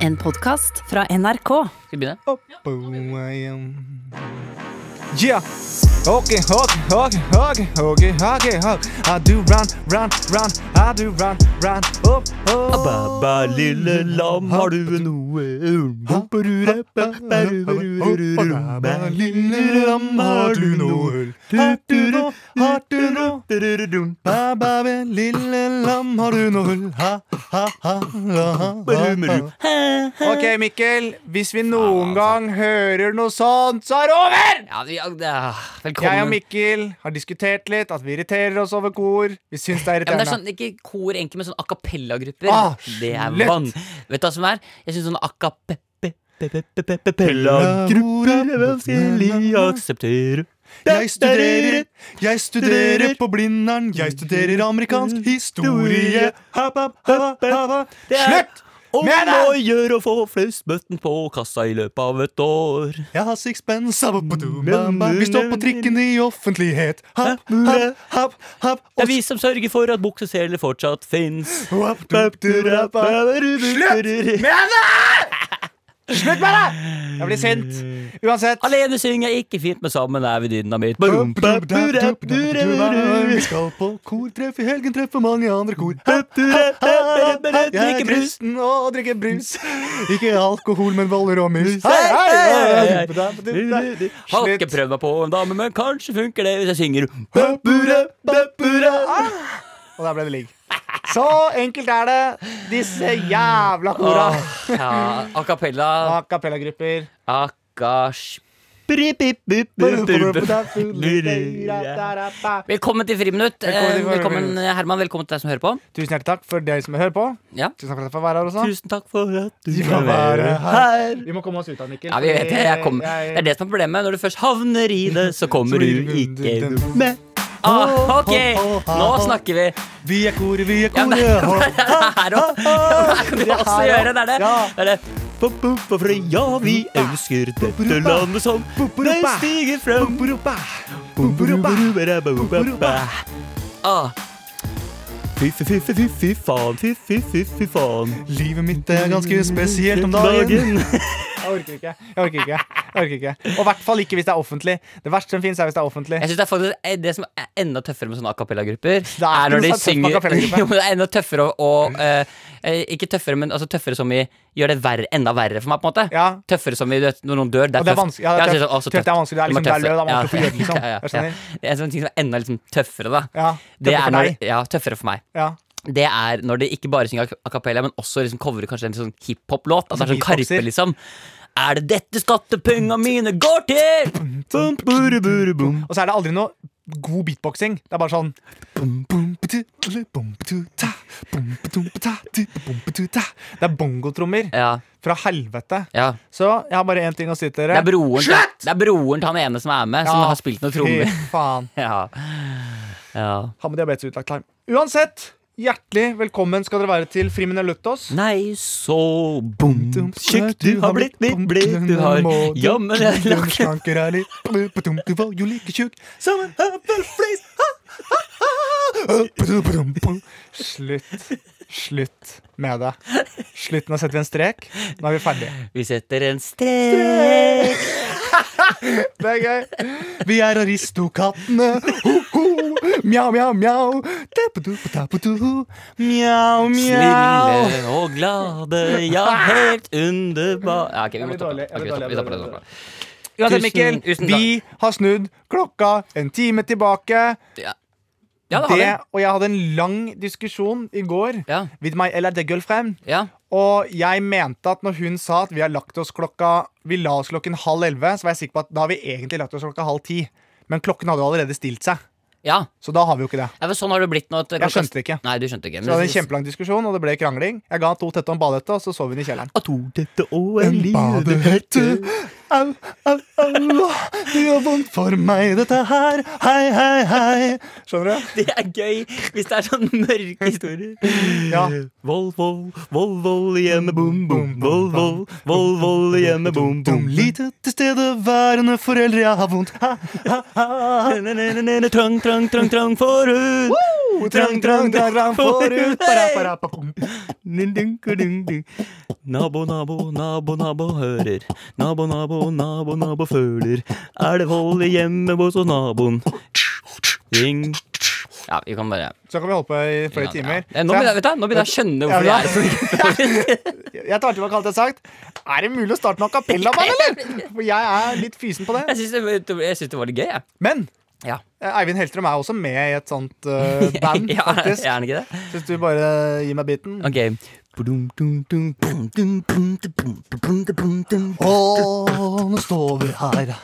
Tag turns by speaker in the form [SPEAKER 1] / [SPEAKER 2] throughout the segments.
[SPEAKER 1] En podkast fra NRK.
[SPEAKER 2] Skal vi begynne?
[SPEAKER 3] Yeah. Okay, okay, okay, okay, okay, okay, okay. I do run, run, run. I do run, run. Up, up.
[SPEAKER 2] Bæ, lille lam,
[SPEAKER 3] har du
[SPEAKER 2] noe
[SPEAKER 3] Bæ, lille lam, har du noe ull? Har du noe, har du noe? Bæ, bæ, bæ, lille lam, har du noe ull? Ha, ha, ha, ha, ha, ha. altså. Ok, Mikkel. Hvis vi noen gang hører noe sånt, så er det over!
[SPEAKER 2] Ja, vi- ja, det er- velkommen.
[SPEAKER 3] Jeg og Mikkel har diskutert litt at vi irriterer oss over kor. Vi syns det er
[SPEAKER 2] ja, men det er
[SPEAKER 3] irriterende.
[SPEAKER 2] sånn, Ikke kor egentlig, men sånn a cappella-grupper.
[SPEAKER 3] Ah,
[SPEAKER 2] det er
[SPEAKER 3] lett.
[SPEAKER 2] vann. Vet du hva som er? Jeg syns sånn a
[SPEAKER 3] Cappella-grupper
[SPEAKER 2] cappella-grupper
[SPEAKER 3] er vanskelig å
[SPEAKER 2] akseptere.
[SPEAKER 3] Jeg studerer, jeg studerer på Blindern. Jeg studerer amerikansk historie. Hap, hap, hap, hap. Slutt!
[SPEAKER 2] Om
[SPEAKER 3] Med det!
[SPEAKER 2] å gjøre å få flest bøtten på kassa i løpet av et år.
[SPEAKER 3] Jeg har sixpence. sa ba ba du, ba ba. Vi står på trikken i offentlighet. Happ, happ, happ, happ.
[SPEAKER 2] Det er vi som sørger for at bukseseler fortsatt fins.
[SPEAKER 3] Happ, happ, du, ra, ba. Slutt! Med det! Slutt med det! Jeg blir sint. Uansett.
[SPEAKER 2] Alene synger jeg ikke fint, men sammen er vi dynamitt.
[SPEAKER 3] Vi skal på kortreff i helgen, treffe mange andre kor. Jeg er kristen og drikker brus. Ikke alkohol, men boller og mus. Hei, hei, hei.
[SPEAKER 2] Har ikke prøvd meg på en dame, men kanskje funker det hvis jeg synger
[SPEAKER 4] Ah.
[SPEAKER 3] Og der ble det ligg. Så enkelt er det. Disse jævla kora.
[SPEAKER 2] Åh, Ah, ja, A cappella Ah,
[SPEAKER 3] A cappella-grupper.
[SPEAKER 2] Akash
[SPEAKER 3] Tusen
[SPEAKER 2] Velkommen til
[SPEAKER 3] Velkommen
[SPEAKER 2] Friminutt.
[SPEAKER 3] til
[SPEAKER 2] Eh, Velkommen,
[SPEAKER 3] Friminutt.
[SPEAKER 2] Herman. Velkommen til deg som hører på.
[SPEAKER 3] hjertelig takk for dere som hører på.
[SPEAKER 2] Ja.
[SPEAKER 3] Tusen takk for at jeg får være her også.
[SPEAKER 2] Tusen takk for at du
[SPEAKER 3] Vi får
[SPEAKER 2] kan være
[SPEAKER 3] være
[SPEAKER 2] her.
[SPEAKER 3] Vi må komme oss ut av Mikkel.
[SPEAKER 2] Ja, vi vet det. Jeg kom. Det er det som er problemet. Når du først havner i det, så kommer du ikke
[SPEAKER 3] med.
[SPEAKER 2] ah, OK, nå snakker vi.
[SPEAKER 3] Vi er koret, vi er
[SPEAKER 2] Ja, men,
[SPEAKER 3] koret.
[SPEAKER 2] det her òg. Det kan du også gjøre. Det er det.
[SPEAKER 3] Ja.
[SPEAKER 2] det, er det. For ja, vi elsker dette landet som det stiger frem. Ah. Fy, fy, fy, fy, fy, fy faen, fy, fy, fy, fy faen.
[SPEAKER 3] Livet mitt er ganske spesielt om dagen. Jeg orker ikke. jeg orker ikke, jeg orker ikke Og i hvert fall ikke hvis det er offentlig. Det verste som fins, er hvis det er offentlig.
[SPEAKER 2] Jeg synes det, er faktisk, eh, det som er enda tøffere med sånne a cappella-grupper,
[SPEAKER 3] er ikke
[SPEAKER 2] er når
[SPEAKER 3] noe
[SPEAKER 2] de
[SPEAKER 3] sånn tøff
[SPEAKER 2] synger
[SPEAKER 3] a cappella-gruppe.
[SPEAKER 2] Jo, men Det er enda tøffere å å, eh, eh, Ikke tøffere, men altså tøffere som i gjør det verre, enda verre for meg, på en måte.
[SPEAKER 3] Ja.
[SPEAKER 2] Tøffere som i du vet, når noen dør.
[SPEAKER 3] Og
[SPEAKER 2] Det er
[SPEAKER 3] det er
[SPEAKER 2] tøft.
[SPEAKER 3] vanskelig- ja, det er
[SPEAKER 2] Jeg synes
[SPEAKER 3] tøft.
[SPEAKER 2] også
[SPEAKER 3] Tøft er vanskelig, det er
[SPEAKER 2] Du må
[SPEAKER 3] liksom- det er
[SPEAKER 2] tøffe.
[SPEAKER 3] lød, da må man tøffe gjøre, liksom.
[SPEAKER 2] ja, ja,
[SPEAKER 3] Jeg skjønner.
[SPEAKER 2] ja. Det er en sånn ting som er enda litt sånn tøffere, da.
[SPEAKER 3] Ja,
[SPEAKER 2] Det
[SPEAKER 3] tøffere
[SPEAKER 2] er
[SPEAKER 3] for
[SPEAKER 2] når,
[SPEAKER 3] deg.
[SPEAKER 2] ja, tøffere for meg.
[SPEAKER 3] Ja.
[SPEAKER 2] Det er når de ikke bare synger a cappella, men også liksom covrer kanskje en sånn hiphop-låt. Altså sånn
[SPEAKER 3] Beatboxer.
[SPEAKER 2] Karpe, liksom. Er det dette skattepenga mine går til? Bum, buru, buru, bum.
[SPEAKER 3] Og så er det aldri noe god beatboxing. Det er bare sånn Det er bongotrommer
[SPEAKER 2] Ja,
[SPEAKER 3] fra helvete.
[SPEAKER 2] ja.
[SPEAKER 3] Så jeg har bare én ting å si til
[SPEAKER 2] Det
[SPEAKER 3] dere.
[SPEAKER 2] er broren, til- det er broren til han ene som er med, som
[SPEAKER 3] Ja,
[SPEAKER 2] har spilt noen trommer.
[SPEAKER 3] Fy faen.
[SPEAKER 2] Ja. ja.
[SPEAKER 3] Han med diabetes og utlagt tarm. Uansett, hjertelig velkommen skal dere være til Frimineluttos.
[SPEAKER 2] Nei, så bom, tjukk du har blitt, blitt, blitt du har Jammen jeg har lagt
[SPEAKER 3] Slanker er litt Du var jo like tjukk som en høvelflis. Slutt. Slutt med det. Slutt. Nå setter vi en strek. Nå er vi ferdige.
[SPEAKER 2] Vi setter en strek.
[SPEAKER 3] Det er gøy. Vi er aristokattene. Ho, ho. Mjau, mjau, mjau. Tepetupetepetu. Mjau, mjau.
[SPEAKER 2] Snille og glade, ja, helt underbar ja, ok, vi
[SPEAKER 3] Jeg
[SPEAKER 2] må
[SPEAKER 3] blir
[SPEAKER 2] stoppe.
[SPEAKER 3] dårlig, jeg
[SPEAKER 2] Ok,
[SPEAKER 3] blir dårlig, jeg
[SPEAKER 2] vi stopper, vi
[SPEAKER 3] blir
[SPEAKER 2] stopper, vi stopper.
[SPEAKER 3] dårlig. Uansett,
[SPEAKER 2] Tusen-
[SPEAKER 3] Mikkel,
[SPEAKER 2] tusen
[SPEAKER 3] vi har snudd klokka en time tilbake.
[SPEAKER 2] Ja, ja det har
[SPEAKER 3] Det,
[SPEAKER 2] vi.
[SPEAKER 3] og jeg hadde en lang diskusjon i går
[SPEAKER 2] Ja,
[SPEAKER 3] with my eller the girlfriend.
[SPEAKER 2] ja.
[SPEAKER 3] Og jeg mente at når hun sa at vi har lagt oss klokka Vi la oss klokken halv elleve, så var jeg sikker på at da har vi egentlig lagt oss klokka halv ti. Men klokken hadde jo allerede stilt seg,
[SPEAKER 2] ja.
[SPEAKER 3] så da har vi jo ikke det.
[SPEAKER 2] Ja, men sånn har det blitt nå. at
[SPEAKER 3] Jeg
[SPEAKER 2] klokka-
[SPEAKER 3] skjønte det ikke.
[SPEAKER 2] Nei, du skjønte ikke.
[SPEAKER 3] Så det var en kjempelang diskusjon, og det ble krangling. Jeg ga han to tette og en badehette, og så sov hun i kjelleren.
[SPEAKER 2] Og to tette og en
[SPEAKER 3] En
[SPEAKER 2] livhette.
[SPEAKER 3] badehette au, au, au. Det gjør vondt for meg, dette her. Hei, hei, hei. Skjønner du?
[SPEAKER 2] Det er gøy hvis det er sånn mørke historier.
[SPEAKER 3] Ja.
[SPEAKER 4] Vold, vold, vold, vold hjemme, bom, bom. Vold, vold, vold, vold hjemme, bom, bom.
[SPEAKER 3] Dum lite tilstedeværende foreldre, jeg har vondt. Ha, ha, ha.
[SPEAKER 2] Trang, trang, trang, trang forut.
[SPEAKER 3] Trang, trang, trang, trang, forut. Para, para, pa, pum.
[SPEAKER 2] Dun, dun, ku, dun, dun. Nabo, nabo, nabo, nabo hører. Nabo, nabo, nabo, nabo føler. Er det vold i hjemmet hos hos naboen? Ring. Ja, vi kan bare
[SPEAKER 3] Så kan vi holde på i flere
[SPEAKER 2] Ja,
[SPEAKER 3] timer.
[SPEAKER 2] ja. Nå begynner, vet du, nå begynner jeg å skjønne hvorfor
[SPEAKER 3] Ja,
[SPEAKER 2] jeg er sånn.
[SPEAKER 3] Jeg tar tilbake alt jeg har sagt. Er det mulig å starte med a cappella-band, eller? For jeg er litt fysen på det.
[SPEAKER 2] Jeg syns det, jeg synes det var litt gøy, jeg.
[SPEAKER 3] Men
[SPEAKER 2] Ja.
[SPEAKER 3] eh, Eivind Hellstrøm er også med i et sånt eh, band,
[SPEAKER 2] Ja, er
[SPEAKER 3] faktisk.
[SPEAKER 2] han ikke det?
[SPEAKER 3] Hvis du bare gir meg biten.
[SPEAKER 2] Ok. Nei,
[SPEAKER 3] Å, nå står vi her.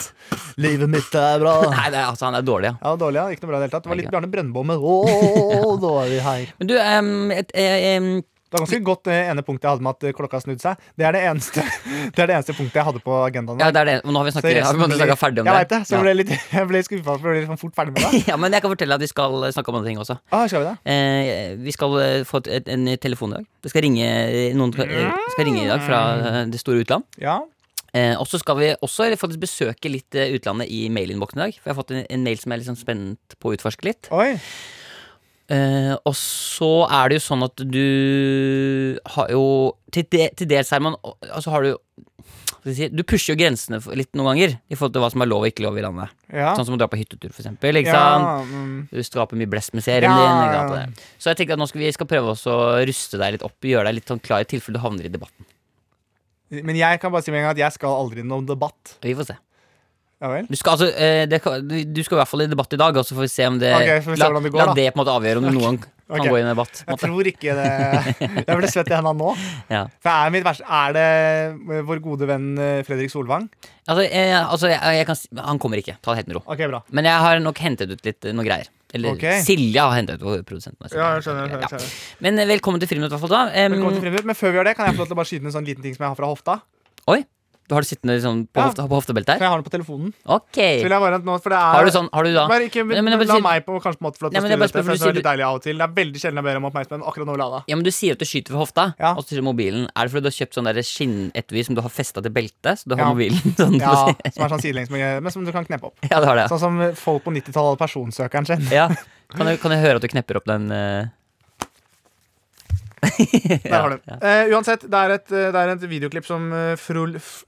[SPEAKER 3] Livet mitt er bra.
[SPEAKER 2] det er, altså, han er dårlig, ja.
[SPEAKER 3] Ja, dårlig, ja. Ikke noe bra i det hele tatt. Det var litt Bjarne Brøndbomme. Å, nå er vi her.
[SPEAKER 2] Men du, em, et, eh, em,
[SPEAKER 3] Det var ganske godt det ene punktet jeg hadde med at eh, klokka snudde seg. Det er det eneste, det er det eneste punktet jeg hadde på agendaen.
[SPEAKER 2] ja, det er det. Nå har vi
[SPEAKER 3] Så
[SPEAKER 2] snakket, har
[SPEAKER 3] resten
[SPEAKER 2] vi måttet
[SPEAKER 3] blir-
[SPEAKER 2] snakke ferdig om
[SPEAKER 3] jeg
[SPEAKER 2] det.
[SPEAKER 3] vet det. Så
[SPEAKER 2] Ja.
[SPEAKER 3] jeg ble litt, jeg ble skuffa for å bli sånn fort ferdig med det.
[SPEAKER 2] Ja, men jeg kan fortelle at vi skal eh, snakke om andre ting også.
[SPEAKER 3] Ah, skal vi det?
[SPEAKER 2] Eh, vi skal eh, få et, et, en telefon i dag. Det skal ringe eh, noen skal, eh, skal ringe i dag fra eh, det store utland.
[SPEAKER 3] Ja.
[SPEAKER 2] Eh, og så skal vi også faktisk besøke litt eh, utlandet i mailinnboksen i dag. For jeg har fått en, en mail som jeg er litt sånn spent på å utforske litt.
[SPEAKER 3] Oi.
[SPEAKER 2] Eh, og så er det jo sånn at du har jo Til, de, til dels, Herman, altså har du hva skal jeg si, Du pusher jo grensene for- litt noen ganger i forhold til hva som er lov og ikke lov i landet.
[SPEAKER 3] Ja.
[SPEAKER 2] Sånn som å dra på hyttetur, for eksempel. Ikke sant?
[SPEAKER 3] Ja, mm.
[SPEAKER 2] Du skaper mye blest med serien
[SPEAKER 3] Ja,
[SPEAKER 2] din. Ikke
[SPEAKER 3] ja, ja.
[SPEAKER 2] sant? og det. Så jeg tenkte at nå skal vi skal prøve også å ruste deg litt opp, gjøre deg litt sånn klar i tilfelle du havner i debatten.
[SPEAKER 3] Men jeg kan bare si med en gang at jeg skal aldri i noen debatt.
[SPEAKER 2] Vi får se.
[SPEAKER 3] Ja vel?
[SPEAKER 2] Du skal, altså, eh, det, kan- du- du skal i hvert fall i debatt i dag, og så får vi se om det
[SPEAKER 3] Ok, får vi se
[SPEAKER 2] La,
[SPEAKER 3] hvordan det går,
[SPEAKER 2] la
[SPEAKER 3] da.
[SPEAKER 2] det på en måte avgjøre om du noen kan
[SPEAKER 3] ok.
[SPEAKER 2] gå i en debatt. På en
[SPEAKER 3] Jeg
[SPEAKER 2] måte.
[SPEAKER 3] tror ikke det. Jeg ble svett i hendene nå.
[SPEAKER 2] Ja.
[SPEAKER 3] For er, mitt verste, er det vår gode venn eh, Fredrik Solvang?
[SPEAKER 2] Altså, eh, altså jeg, jeg kan, si- han kommer ikke. Ta det helt med ro.
[SPEAKER 3] Ok, bra.
[SPEAKER 2] Men jeg har nok hentet ut litt eh, noen greier. Eller
[SPEAKER 3] Ok.
[SPEAKER 2] Silja har hentet ut produsenten. vår.
[SPEAKER 3] Ja, jeg skjønner, jeg skjønner, jeg
[SPEAKER 2] Ja.
[SPEAKER 3] skjønner.
[SPEAKER 2] Men eh, velkommen til Friminutt, i hvert fall. da Em,
[SPEAKER 3] Velkommen til Friminutt. Men før vi gjør det, kan jeg få lov til å bare skyte inn en sånn liten ting som jeg har fra hofta?
[SPEAKER 2] Oi, du har det sittende liksom, på,
[SPEAKER 3] Ja.
[SPEAKER 2] hofte, på hoftebeltet
[SPEAKER 3] For
[SPEAKER 2] her?
[SPEAKER 3] jeg har den på telefonen.
[SPEAKER 2] Ok.
[SPEAKER 3] Så vil jeg bare nå, for det er
[SPEAKER 2] Har du sånn, har du da
[SPEAKER 3] Bare ikke
[SPEAKER 2] Men- men jeg bare
[SPEAKER 3] la
[SPEAKER 2] sier-
[SPEAKER 3] meg på kanskje på en måte for at
[SPEAKER 2] Nei,
[SPEAKER 3] jeg
[SPEAKER 2] men jeg
[SPEAKER 3] styrer dette, for det
[SPEAKER 2] bare spør, for
[SPEAKER 3] er
[SPEAKER 2] du sier
[SPEAKER 3] veldig deilig av og til. Det er veldig sjelden jeg ber om oppmerksomhet, men akkurat nå la jeg det.
[SPEAKER 2] Ja, men Du sier at du skyter fra hofta,
[SPEAKER 3] Ja.
[SPEAKER 2] og så sier du mobilen. Er det fordi du har kjøpt sånn der skinnetui som du har festa til beltet? Så du har
[SPEAKER 3] Ja.
[SPEAKER 2] mobilen sånn
[SPEAKER 3] Ja,
[SPEAKER 2] på si-
[SPEAKER 3] som er sånn sidelengs, men men som du kan kneppe opp.
[SPEAKER 2] ja, du har det. ja.
[SPEAKER 3] Sånn som folk på 90-tallet hadde personsøkeren sin.
[SPEAKER 2] Ja. Kan, jeg, kan jeg høre at du knepper opp den eh?
[SPEAKER 3] Der har du den. Eh, uansett, det er, et, eh, det er et videoklipp som eh, frol, f,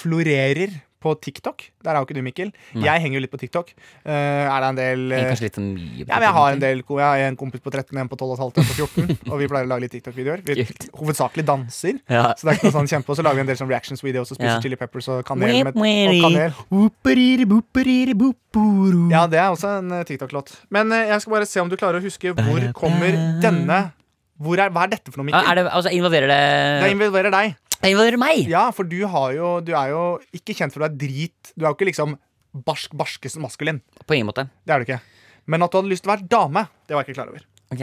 [SPEAKER 3] florerer på TikTok. Der er jo ikke du, Mikkel. Jeg henger jo litt på TikTok. Eh, er det en del
[SPEAKER 2] Eller
[SPEAKER 3] eh,
[SPEAKER 2] Kanskje litt for mye?
[SPEAKER 3] ja, men jeg har en del ko- Jeg har en kompis på 13, en på 12 og et halvt, en på 14. Og vi pleier å lage litt TikTok-videoer. Vi
[SPEAKER 2] Kult.
[SPEAKER 3] hovedsakelig danser.
[SPEAKER 2] Ja.
[SPEAKER 3] Så det er ikke noe sånn kjempe Og så lager vi en del sånn reactions-videoer og spiser
[SPEAKER 2] Ja.
[SPEAKER 3] chili peppers og kanel. Med, og
[SPEAKER 2] Whip,
[SPEAKER 3] kanel. Ja,
[SPEAKER 4] Ja.
[SPEAKER 3] det er også en eh, TikTok-låt. Men eh, jeg skal bare se om du klarer å huske hvor kommer denne hvor er, Hva er dette for noe,
[SPEAKER 2] Ja,
[SPEAKER 3] Mikkel?
[SPEAKER 2] Er det, altså, invaderer
[SPEAKER 3] Det
[SPEAKER 2] det
[SPEAKER 3] involverer deg.
[SPEAKER 2] Det invaderer meg!
[SPEAKER 3] Ja, for du, har jo, du er jo ikke kjent for å være drit. Du er jo ikke liksom barsk, barskest maskulin.
[SPEAKER 2] På ingen måte.
[SPEAKER 3] Det er du ikke. Men at du hadde lyst til å være dame, det var jeg ikke klar over.
[SPEAKER 2] Ok.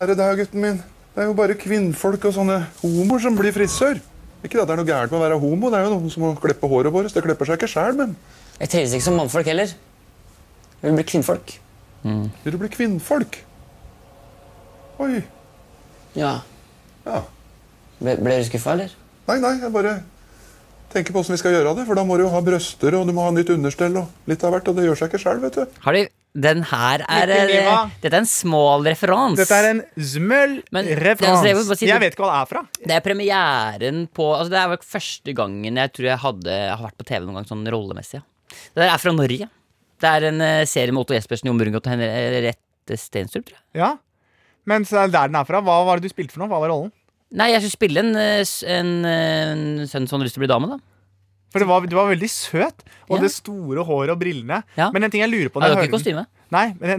[SPEAKER 5] Herre deg, gutten min. Det er jo bare kvinnfolk og sånne homoer som blir frisør. Ikke at det er noe gærent med å være homo, det er jo noen som må klippe håret vårt. Det klipper seg ikke sjæl, men
[SPEAKER 6] Jeg trives ikke som mannfolk heller. Jeg vil bli kvinnfolk.
[SPEAKER 5] vil du bli kvinnfolk? Oi.
[SPEAKER 6] Ja.
[SPEAKER 5] Ja.
[SPEAKER 6] Ble, ble du skuffa, eller?
[SPEAKER 5] Nei, nei, jeg bare tenker på åssen vi skal gjøre det. For da må du jo ha brøster, og du må ha nytt understell og litt av hvert. Og det gjør seg ikke sjæl, vet du.
[SPEAKER 2] Har du Den her er
[SPEAKER 3] Mikkel
[SPEAKER 2] eh,
[SPEAKER 3] Niva.
[SPEAKER 2] Dette er en smal referanse.
[SPEAKER 3] Dette er en smøll
[SPEAKER 2] Men-
[SPEAKER 3] referans.
[SPEAKER 2] Ja, altså, jeg
[SPEAKER 3] Jeg,
[SPEAKER 2] vil bare si-
[SPEAKER 3] vet ikke hva det er fra.
[SPEAKER 2] Det er premieren på altså Det er vel første gangen jeg tror jeg hadde jeg har vært på TV noen gang sånn rollemessig. Ja. Det der er fra Norge. Det er en eh, serie med Otto Jespersen, Jon Brungot og Henriette Stenstrup, tror jeg.
[SPEAKER 3] Ja. Men så er det der den er fra. Hva var det du spilte for noe? Hva var rollen?
[SPEAKER 2] Nei, jeg skulle spille en, eh, s- en, eh, en sønn som hadde lyst til å bli dame, da.
[SPEAKER 3] For det var, Du var veldig søt, og
[SPEAKER 2] Ja.
[SPEAKER 3] det store håret og brillene.
[SPEAKER 2] Ja.
[SPEAKER 3] Men en ting jeg lurer på
[SPEAKER 2] Nei,
[SPEAKER 3] når
[SPEAKER 2] det var
[SPEAKER 3] jeg
[SPEAKER 2] ikke
[SPEAKER 3] hører den-
[SPEAKER 2] kostyme.
[SPEAKER 3] Nei, men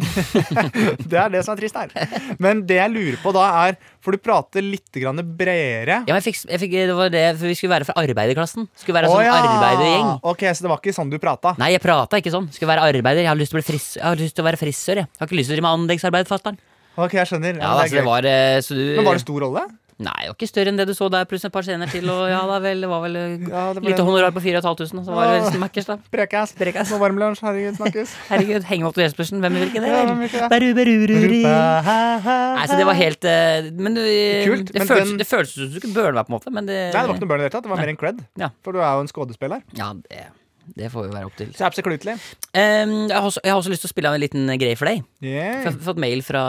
[SPEAKER 3] Det er det som er trist her. Men det jeg lurer på da, er For du prater litt grann bredere.
[SPEAKER 2] Ja, men jeg fikk, jeg fikk, det var det, for vi skulle være fra arbeiderklassen. Skulle være
[SPEAKER 3] Å,
[SPEAKER 2] en sånn
[SPEAKER 3] ja.
[SPEAKER 2] arbeidergjeng.
[SPEAKER 3] Ok, Så det var ikke sånn du prata?
[SPEAKER 2] Nei, jeg prata ikke sånn. Skulle være arbeider. Jeg har lyst til å, bli fris jeg har lyst til å være frisør. Jeg. jeg har ikke lyst til å drive med anleggsarbeid, fatter'n.
[SPEAKER 3] Ok, jeg skjønner.
[SPEAKER 2] Ja,
[SPEAKER 3] det er
[SPEAKER 2] altså, det
[SPEAKER 3] gøy.
[SPEAKER 2] var, eh, så du
[SPEAKER 3] Men var det stor rolle?
[SPEAKER 2] Nei, det var ikke større enn det du så der, pluss et par scener til. Og ja da vel, det var vel eh,
[SPEAKER 3] Ja, det ble
[SPEAKER 2] lite
[SPEAKER 3] en
[SPEAKER 2] honorar på 4500, så var det
[SPEAKER 3] Ah.
[SPEAKER 2] resten Mackers, da.
[SPEAKER 3] Prekas. Prekas. Og varmlunsj. Herregud, snakkes.
[SPEAKER 2] Herregud, henge opp til Jespersen, hvem vil ikke det?
[SPEAKER 3] Ja,
[SPEAKER 2] vel?
[SPEAKER 3] men ikke det.
[SPEAKER 2] Beru, beru, ru, ru. Nei,
[SPEAKER 3] Nei,
[SPEAKER 2] så det var helt eh, Men du, eh,
[SPEAKER 3] Kult,
[SPEAKER 2] det,
[SPEAKER 3] men
[SPEAKER 2] føltes,
[SPEAKER 3] den-
[SPEAKER 2] det føltes ut som du skulle burne meg, på en måte, men det
[SPEAKER 3] Nei, det var ikke noe burn i det hele tatt. Det var
[SPEAKER 2] Nei.
[SPEAKER 3] mer en cred.
[SPEAKER 2] Ja.
[SPEAKER 3] For du er jo en skuespiller.
[SPEAKER 2] Ja, det, det får jo være opp til.
[SPEAKER 3] Så absolutely.
[SPEAKER 2] Em, jeg, har også, jeg har også lyst til å spille av en liten greie for deg. For
[SPEAKER 3] Yeah.
[SPEAKER 2] Jeg har fått mail fra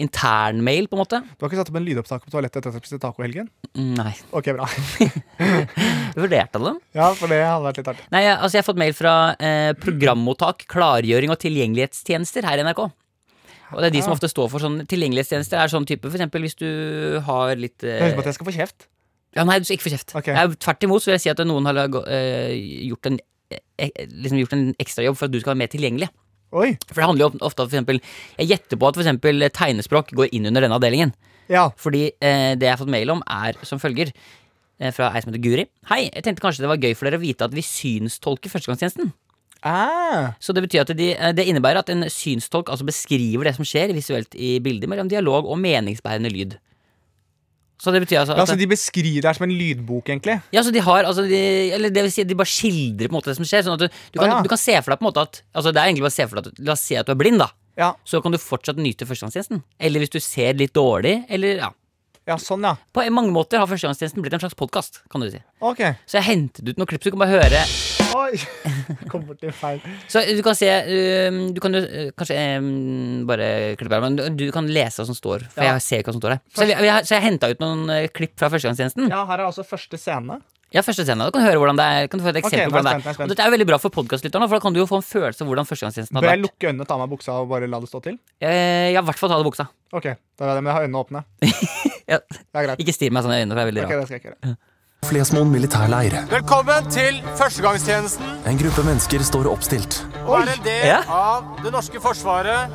[SPEAKER 2] internmail, på en måte.
[SPEAKER 3] Du har ikke satt opp en lydopptak på toalettet etter at du spiste taco i helgen?
[SPEAKER 2] Mm, Nei,
[SPEAKER 3] Ok, bra.
[SPEAKER 2] jeg vurderte det.
[SPEAKER 3] Ja, for det hadde vært litt artig.
[SPEAKER 2] Nei, jeg, altså jeg har fått mail fra eh, programmottak, klargjøring og tilgjengelighetstjenester her i NRK. Og det er de som
[SPEAKER 3] Ja.
[SPEAKER 2] ofte står for sånn tilgjengelighetstjenester. er sånn type, for eksempel hvis du har litt
[SPEAKER 3] Jeg
[SPEAKER 2] eh,
[SPEAKER 3] husker på at jeg skal få kjeft.
[SPEAKER 2] Ja, nei, du skal ikke få kjeft.
[SPEAKER 3] Ok.
[SPEAKER 2] Jeg- Tvert imot så vil jeg si at noen har laga- eh, gjort en eh, Liksom gjort en ekstrajobb for at du skal være mer tilgjengelig.
[SPEAKER 3] Oi.
[SPEAKER 2] For det handler jo ofte om for eksempel, Jeg gjetter på at for eksempel eh, tegnespråk går inn under denne avdelingen.
[SPEAKER 3] Ja.
[SPEAKER 2] Fordi eh, det jeg har fått mail om, er som følger. eh, Fra ei som heter Guri. Hei, jeg tenkte kanskje det var gøy for dere å vite at vi synstolker førstegangstjenesten.
[SPEAKER 3] Ah.
[SPEAKER 2] Så det betyr at de, eh, det innebærer at en synstolk altså beskriver det som skjer visuelt i bildet mellom dialog og meningsbærende lyd. Så det betyr altså at
[SPEAKER 3] Ja, så de beskriver det her som en lydbok, egentlig.
[SPEAKER 2] Ja, så de har altså de, Eller det vil si at de bare skildrer på en måte det som skjer. Sånn at du, du, kan,
[SPEAKER 3] Å, ja.
[SPEAKER 2] du kan se for deg på en måte at Altså det er egentlig bare å se for deg at La oss si at du er blind, da.
[SPEAKER 3] Ja,
[SPEAKER 2] Så kan du fortsatt nyte førstegangstjenesten. Eller hvis du ser litt dårlig, eller ja.
[SPEAKER 3] ja sånn, ja.
[SPEAKER 2] På mange måter har førstegangstjenesten blitt en slags podkast, kan du si.
[SPEAKER 3] Ok.
[SPEAKER 2] Så jeg hentet ut noen klipp, så du kan bare høre.
[SPEAKER 3] Oi! Kom bort til feil.
[SPEAKER 2] Så du kan se øhm, Du kan jo øh, kanskje øhm, bare klippe her, men du, du kan lese hva som står. For
[SPEAKER 3] Ja.
[SPEAKER 2] jeg ser ikke hva som står her. Så jeg, jeg, så jeg henta ut noen øh, klipp fra førstegangstjenesten.
[SPEAKER 3] Ja, her er altså første scene.
[SPEAKER 2] Ja, første scenen. Du kan høre hvordan det er. Kan du få et eksempel
[SPEAKER 3] nå er jeg spent,
[SPEAKER 2] hvordan det
[SPEAKER 3] nå er jeg
[SPEAKER 2] er.
[SPEAKER 3] spent.
[SPEAKER 2] Og dette er jo veldig bra for podcastlytterne for da kan du jo få en følelse av hvordan førstegangstjenesten
[SPEAKER 3] Bør
[SPEAKER 2] hadde
[SPEAKER 3] jeg
[SPEAKER 2] vært.
[SPEAKER 3] lukke øynene, ta av meg buksa og bare la det stå til?
[SPEAKER 2] Eh, ja, i hvert fall ta av deg buksa.
[SPEAKER 3] Ok, da er det, men jeg har øynene åpne.
[SPEAKER 2] Ja.
[SPEAKER 3] Det er greit.
[SPEAKER 2] Ikke stirr meg sånn i øynene, for det er veldig
[SPEAKER 3] Ok,
[SPEAKER 2] rart.
[SPEAKER 3] det skal jeg ikke gjøre.
[SPEAKER 7] Flesmoen militærleir.
[SPEAKER 8] Velkommen til førstegangstjenesten
[SPEAKER 7] En gruppe mennesker står oppstilt.
[SPEAKER 8] Å være en del
[SPEAKER 2] Ja.
[SPEAKER 8] av det norske forsvaret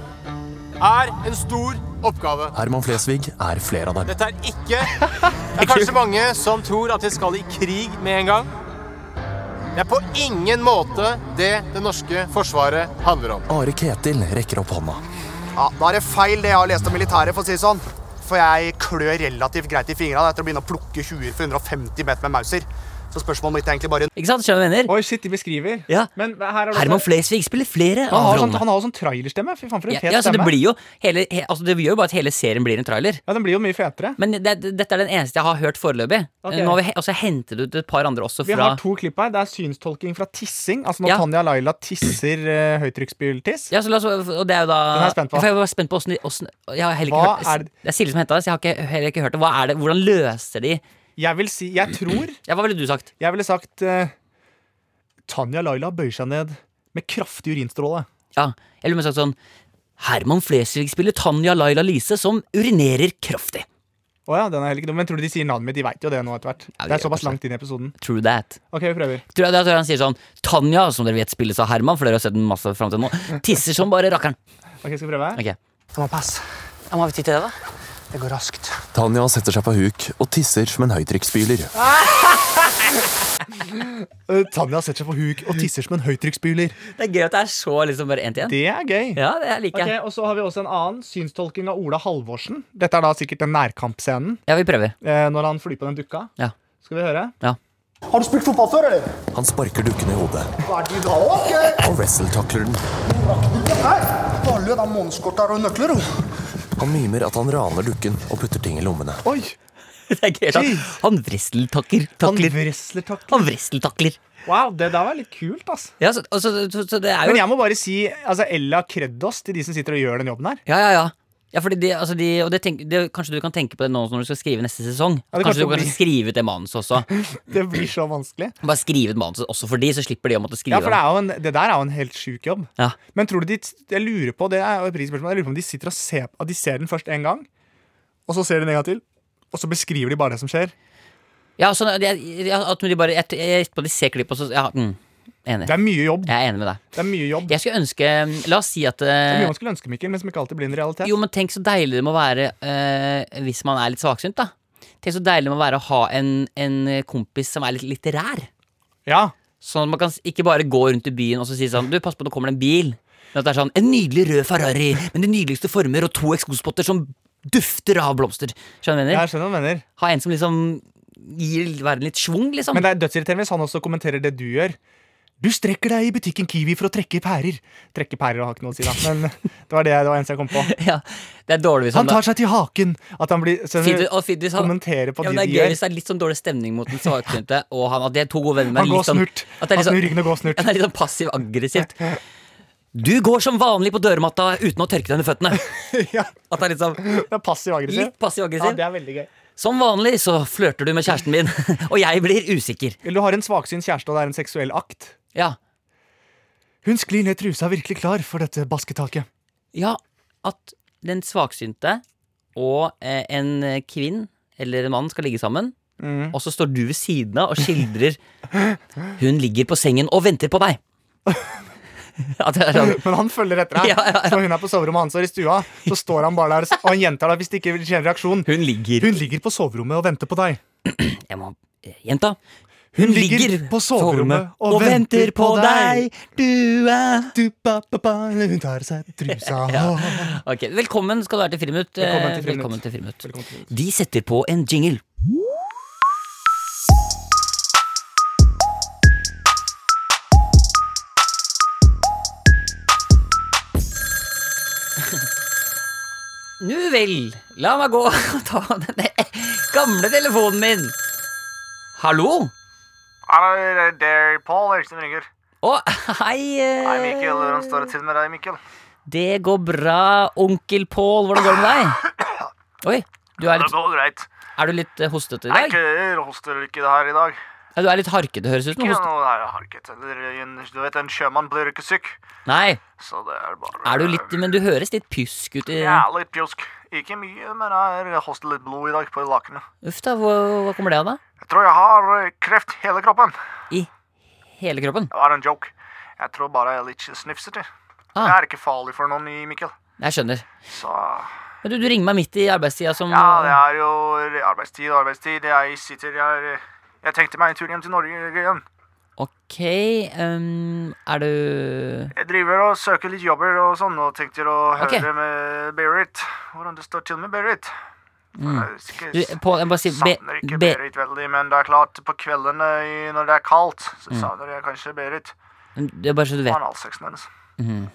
[SPEAKER 8] er en stor oppgave.
[SPEAKER 7] Herman Flesvig er flere av dem.
[SPEAKER 8] Dette er ikke Det er kanskje mange som tror at vi skal i krig med en gang. Det er på ingen måte det det norske forsvaret handler om.
[SPEAKER 7] Are Ketil rekker opp hånda.
[SPEAKER 9] Ja, Da er det feil det jeg har lest om militæret, for å si det sånn. For jeg klør relativt greit i fingrene etter å begynne å plukke 20 for 150 meter med mauser. Så spørsmålet mitt er egentlig bare
[SPEAKER 2] Ikke sant? Skjønner du hva jeg mener?
[SPEAKER 3] Oi, shit, de beskriver.
[SPEAKER 2] Ja.
[SPEAKER 3] Men her er det
[SPEAKER 2] Herman
[SPEAKER 3] også...
[SPEAKER 2] Flesvig spiller flere
[SPEAKER 3] Han
[SPEAKER 2] av
[SPEAKER 3] har, sånn,
[SPEAKER 2] rollene.
[SPEAKER 3] han har jo sånn trailerstemme. Fy faen, for en
[SPEAKER 2] Ja,
[SPEAKER 3] fet
[SPEAKER 2] ja, så det
[SPEAKER 3] stemme.
[SPEAKER 2] blir jo hele, he, altså Det gjør jo bare at hele serien blir en trailer.
[SPEAKER 3] Ja, den blir jo mye fetere.
[SPEAKER 2] Men det, det- dette er den eneste jeg har hørt foreløpig.
[SPEAKER 3] Ok.
[SPEAKER 2] Eh, Nå har vi he- også hentet ut et par andre også
[SPEAKER 3] Vi
[SPEAKER 2] fra
[SPEAKER 3] har to klipp her. Det er synstolking fra tissing. Altså når
[SPEAKER 2] Ja.
[SPEAKER 3] Tanja Laila tisser uh, høytrykksspyltiss.
[SPEAKER 2] ja, så la oss, og det er jo da
[SPEAKER 3] Den er jeg spent på.
[SPEAKER 2] For jeg var spent på åssen de åssen- Jeg har heller ikke
[SPEAKER 3] Hva
[SPEAKER 2] hørt
[SPEAKER 3] er
[SPEAKER 2] det.
[SPEAKER 3] det-
[SPEAKER 2] er Silje som henta det, så jeg har ikke, heller ikke hørt det. Hva er det. Hvordan løser de
[SPEAKER 3] Jeg vil si Jeg tror
[SPEAKER 2] Ja, Hva ville du sagt?
[SPEAKER 3] Jeg ville sagt eh, Tanja Laila bøyer seg ned med kraftig urinstråle.
[SPEAKER 2] Ja, eller med sagt sånn Herman Flesvig spiller Tanja Laila Lise som urinerer kraftig.
[SPEAKER 3] Å ja, den er heller ikke dum. Men tror du de sier navnet mitt? De veit jo det nå etter hvert.
[SPEAKER 2] Ja,
[SPEAKER 3] det
[SPEAKER 2] de
[SPEAKER 3] er
[SPEAKER 2] gjør
[SPEAKER 3] såpass
[SPEAKER 2] kanskje
[SPEAKER 3] langt inn i episoden.
[SPEAKER 2] True that.
[SPEAKER 3] Ok, vi prøver.
[SPEAKER 2] Tror jeg, jeg tror han sier sånn Tanja, som dere vet spilles av Herman, for dere har sett den masse fram til nå, tisser som bare rakkeren.
[SPEAKER 3] Ok, skal vi prøve?
[SPEAKER 2] Ok.
[SPEAKER 9] Jeg må passe.
[SPEAKER 2] Ja, må vi tid til det, da?
[SPEAKER 9] Det går raskt.
[SPEAKER 7] Tanja setter seg på huk og tisser som en høytrykksspyler.
[SPEAKER 3] Eh, Tanja setter seg på huk og tisser som en høytrykksspyler.
[SPEAKER 2] Det er gøy at det er så liksom bare én til én.
[SPEAKER 3] Det er gøy.
[SPEAKER 2] Ja, det liker
[SPEAKER 3] Ok,
[SPEAKER 2] jeg.
[SPEAKER 3] og Så har vi også en annen synstolking av Ola Halvorsen. Dette er da sikkert den nærkampscenen
[SPEAKER 2] Ja, vi prøver.
[SPEAKER 3] eh, når han flyr på den dukka.
[SPEAKER 2] Ja.
[SPEAKER 3] Skal vi høre?
[SPEAKER 9] Har du spilt fotball før, eller?
[SPEAKER 7] Han sparker dukken i hodet
[SPEAKER 9] Hva er det du da? Ok,
[SPEAKER 7] og wrestle-takler den.
[SPEAKER 9] her. Baller av månedskorter og nøkler. du.
[SPEAKER 7] Han mimer at han raner dukken og putter ting i lommene.
[SPEAKER 3] Oi!
[SPEAKER 2] Det er gøy at han- Han vristeltakler.
[SPEAKER 3] Han
[SPEAKER 2] Takler.
[SPEAKER 3] wrestlertakler.
[SPEAKER 2] Han vristeltakler.
[SPEAKER 3] Wow, det der var litt kult, ass.
[SPEAKER 2] Ja, så, og så, så, så det er jo
[SPEAKER 3] Men jeg må bare si altså, Ella Kreddos til de som sitter og gjør den jobben her.
[SPEAKER 2] Ja, ja, ja. Ja, fordi de, altså de, og det tenk, det, Kanskje du kan tenke på det nå når du skal skrive neste sesong.
[SPEAKER 3] Ja, det kanskje
[SPEAKER 2] kanskje du kan
[SPEAKER 3] blir-
[SPEAKER 2] skrive ut det manuset også.
[SPEAKER 3] Det blir så vanskelig.
[SPEAKER 2] Bare skrive et manus også for de, så slipper de å måtte
[SPEAKER 3] Ja,
[SPEAKER 2] skrive.
[SPEAKER 3] for det, er jo en, det der er jo en helt sjuk jobb.
[SPEAKER 2] Ja.
[SPEAKER 3] Men tror du de Jeg lurer på det er jo et prisspørsmål, jeg lurer på om de sitter og ser at de ser den først en gang, og så ser de den en gang til, og så beskriver de bare det som skjer.
[SPEAKER 2] Ja, sånn, jeg- jeg- at de bare Jeg jeg gjetter på at de ser klipp, og så ja, mm, Enig.
[SPEAKER 3] Det er mye jobb.
[SPEAKER 2] Jeg er enig med deg.
[SPEAKER 3] Det er mye jobb.
[SPEAKER 2] Jeg skulle ønske La oss si at
[SPEAKER 3] Det er
[SPEAKER 2] eh,
[SPEAKER 3] mye man skulle ønske, Mikkel, men som ikke alltid blir en realitet.
[SPEAKER 2] Jo, men tenk så deilig det må være eh, hvis man er litt svaksynt, da. Tenk så deilig det må være å ha en, en kompis som er litt litterær.
[SPEAKER 3] Ja,
[SPEAKER 2] Sånn at man kan s- ikke bare gå rundt i byen og så si sånn Du, pass på, nå kommer det en bil. Men at det er sånn En nydelig rød Ferrari med de nydeligste former og to eksospotter som dufter av blomster. Skjønner du hva jeg mener?
[SPEAKER 10] Jeg skjønner hva du mener.
[SPEAKER 2] Ha en som liksom gir verden litt schwung, liksom.
[SPEAKER 10] Men det er dødsirriterende hvis han også kommenterer det du gjør. Du strekker deg i butikken Kiwi for å trekke pærer. Trekke pærer har ikke noe å si, da. Men det var det, det var eneste jeg kom på.
[SPEAKER 2] Det er dårlig hvis
[SPEAKER 10] Han tar seg til haken. At han blir så,
[SPEAKER 2] Fint- og fint hvis han-
[SPEAKER 10] kommenterer på
[SPEAKER 2] ja,
[SPEAKER 10] de
[SPEAKER 2] men det
[SPEAKER 10] de
[SPEAKER 2] er gøy
[SPEAKER 10] gjør.
[SPEAKER 2] hvis det er litt sånn dårlig stemning mot den svaksynte, og han, at de er to gode venner men
[SPEAKER 10] Han går
[SPEAKER 2] litt sånn,
[SPEAKER 10] snurt.
[SPEAKER 2] at det er litt
[SPEAKER 10] Han
[SPEAKER 2] sånn-
[SPEAKER 10] snur ryggen og går snurt.
[SPEAKER 2] Ja, Det er litt sånn passiv-aggressivt. Du går som vanlig på dørmatta uten å tørke deg under føttene. At det er litt sånn
[SPEAKER 10] passiv-aggressiv.
[SPEAKER 2] Litt passiv-aggressiv.
[SPEAKER 10] Ja, det er veldig gøy.
[SPEAKER 2] Som vanlig så flørter du med kjæresten min, og jeg blir usikker.
[SPEAKER 10] Eller du har en svaksynt kjæreste, og det er en seksuell akt.
[SPEAKER 2] Ja.
[SPEAKER 10] Hun sklir ned trusa virkelig klar for dette basketaket.
[SPEAKER 2] Ja, at den svaksynte og eh, en kvinn eller en mann skal ligge sammen,
[SPEAKER 10] Mm.
[SPEAKER 2] og så står du ved siden av og skildrer Hun ligger på sengen og venter på deg. At det er sånn
[SPEAKER 10] Men han følger etter deg.
[SPEAKER 2] Ja, ja, ja.
[SPEAKER 10] Så hun er på soverommet og han står i stua. Så står han bare der og han gjentar det hvis det ikke skjer en reaksjon.
[SPEAKER 2] Hun ligger
[SPEAKER 10] Hun ligger på soverommet og venter på deg.
[SPEAKER 2] Jeg må eh, Jenta.
[SPEAKER 10] Hun ligger på soverommet og venter på deg.
[SPEAKER 2] Du er
[SPEAKER 10] du, ba, ba, ba, Hun tar seg trusa.
[SPEAKER 2] Ok, Velkommen skal du være til Friminutt. Eh,
[SPEAKER 10] Velkommen til Friminutt.
[SPEAKER 2] Velkommen til Friminutt. De setter på en jingle. Nu vel, la meg gå og ta den gamle telefonen min. Hallo?
[SPEAKER 3] Hallo, det er Paul Eriksen ringer.
[SPEAKER 2] Å, hei. eh,
[SPEAKER 3] Hei, Mikkel. Hvordan står det til med deg, Mikkel?
[SPEAKER 2] Det går bra, onkel Pål. Hvordan går det med deg? Oi, du er
[SPEAKER 3] Det
[SPEAKER 2] litt,
[SPEAKER 3] går greit.
[SPEAKER 2] er du litt eh, hostete i
[SPEAKER 3] Jeg
[SPEAKER 2] dag?
[SPEAKER 3] ikke hoster ikke det her i dag.
[SPEAKER 2] Ja, du er litt harkete, høres ut
[SPEAKER 3] Ikke
[SPEAKER 2] som. Hoste.
[SPEAKER 3] noe her harket. Eller, en- du vet, en sjømann blir ikke syk.
[SPEAKER 2] Nei,
[SPEAKER 3] Så det er bare...
[SPEAKER 2] er du litt, eh, men du høres litt pysk ut. i-
[SPEAKER 3] Ja, litt pjosk. Ikke mye, men jeg har hostet litt blod i dag på lakenet.
[SPEAKER 2] Uff da, hva, hva kommer det av da?
[SPEAKER 3] Jeg tror jeg har eh, kreft i hele kroppen.
[SPEAKER 2] I hele kroppen?
[SPEAKER 3] Det var en joke. Jeg tror bare jeg er litt snufsete.
[SPEAKER 2] Ah.
[SPEAKER 3] Jeg er ikke farlig for noen, Mikkel.
[SPEAKER 2] Jeg skjønner.
[SPEAKER 3] Så...
[SPEAKER 2] Men Du, du ringer meg midt i arbeidstida som
[SPEAKER 3] Ja, det er jo arbeidstid og arbeidstid. Jeg sitter Jeg, jeg tenkte meg en tur hjem til Norge igjen.
[SPEAKER 2] Ok, ehm, er du
[SPEAKER 3] Jeg driver og søker litt jobber og sånn, og tenkte å høre
[SPEAKER 2] Ok.
[SPEAKER 3] med Berit. Hvordan det står til med Berit.
[SPEAKER 2] mm.
[SPEAKER 3] Sikkert
[SPEAKER 2] Du, Pål, jeg må bare si be,
[SPEAKER 3] savner ikke
[SPEAKER 2] be,
[SPEAKER 3] Berit veldig, men det er klart, på kveldene i- når det er kaldt, så
[SPEAKER 2] Mm.
[SPEAKER 3] savner jeg kanskje Berit.
[SPEAKER 2] Det er bare så du vet.
[SPEAKER 3] Analsexen hennes.
[SPEAKER 2] Mhm.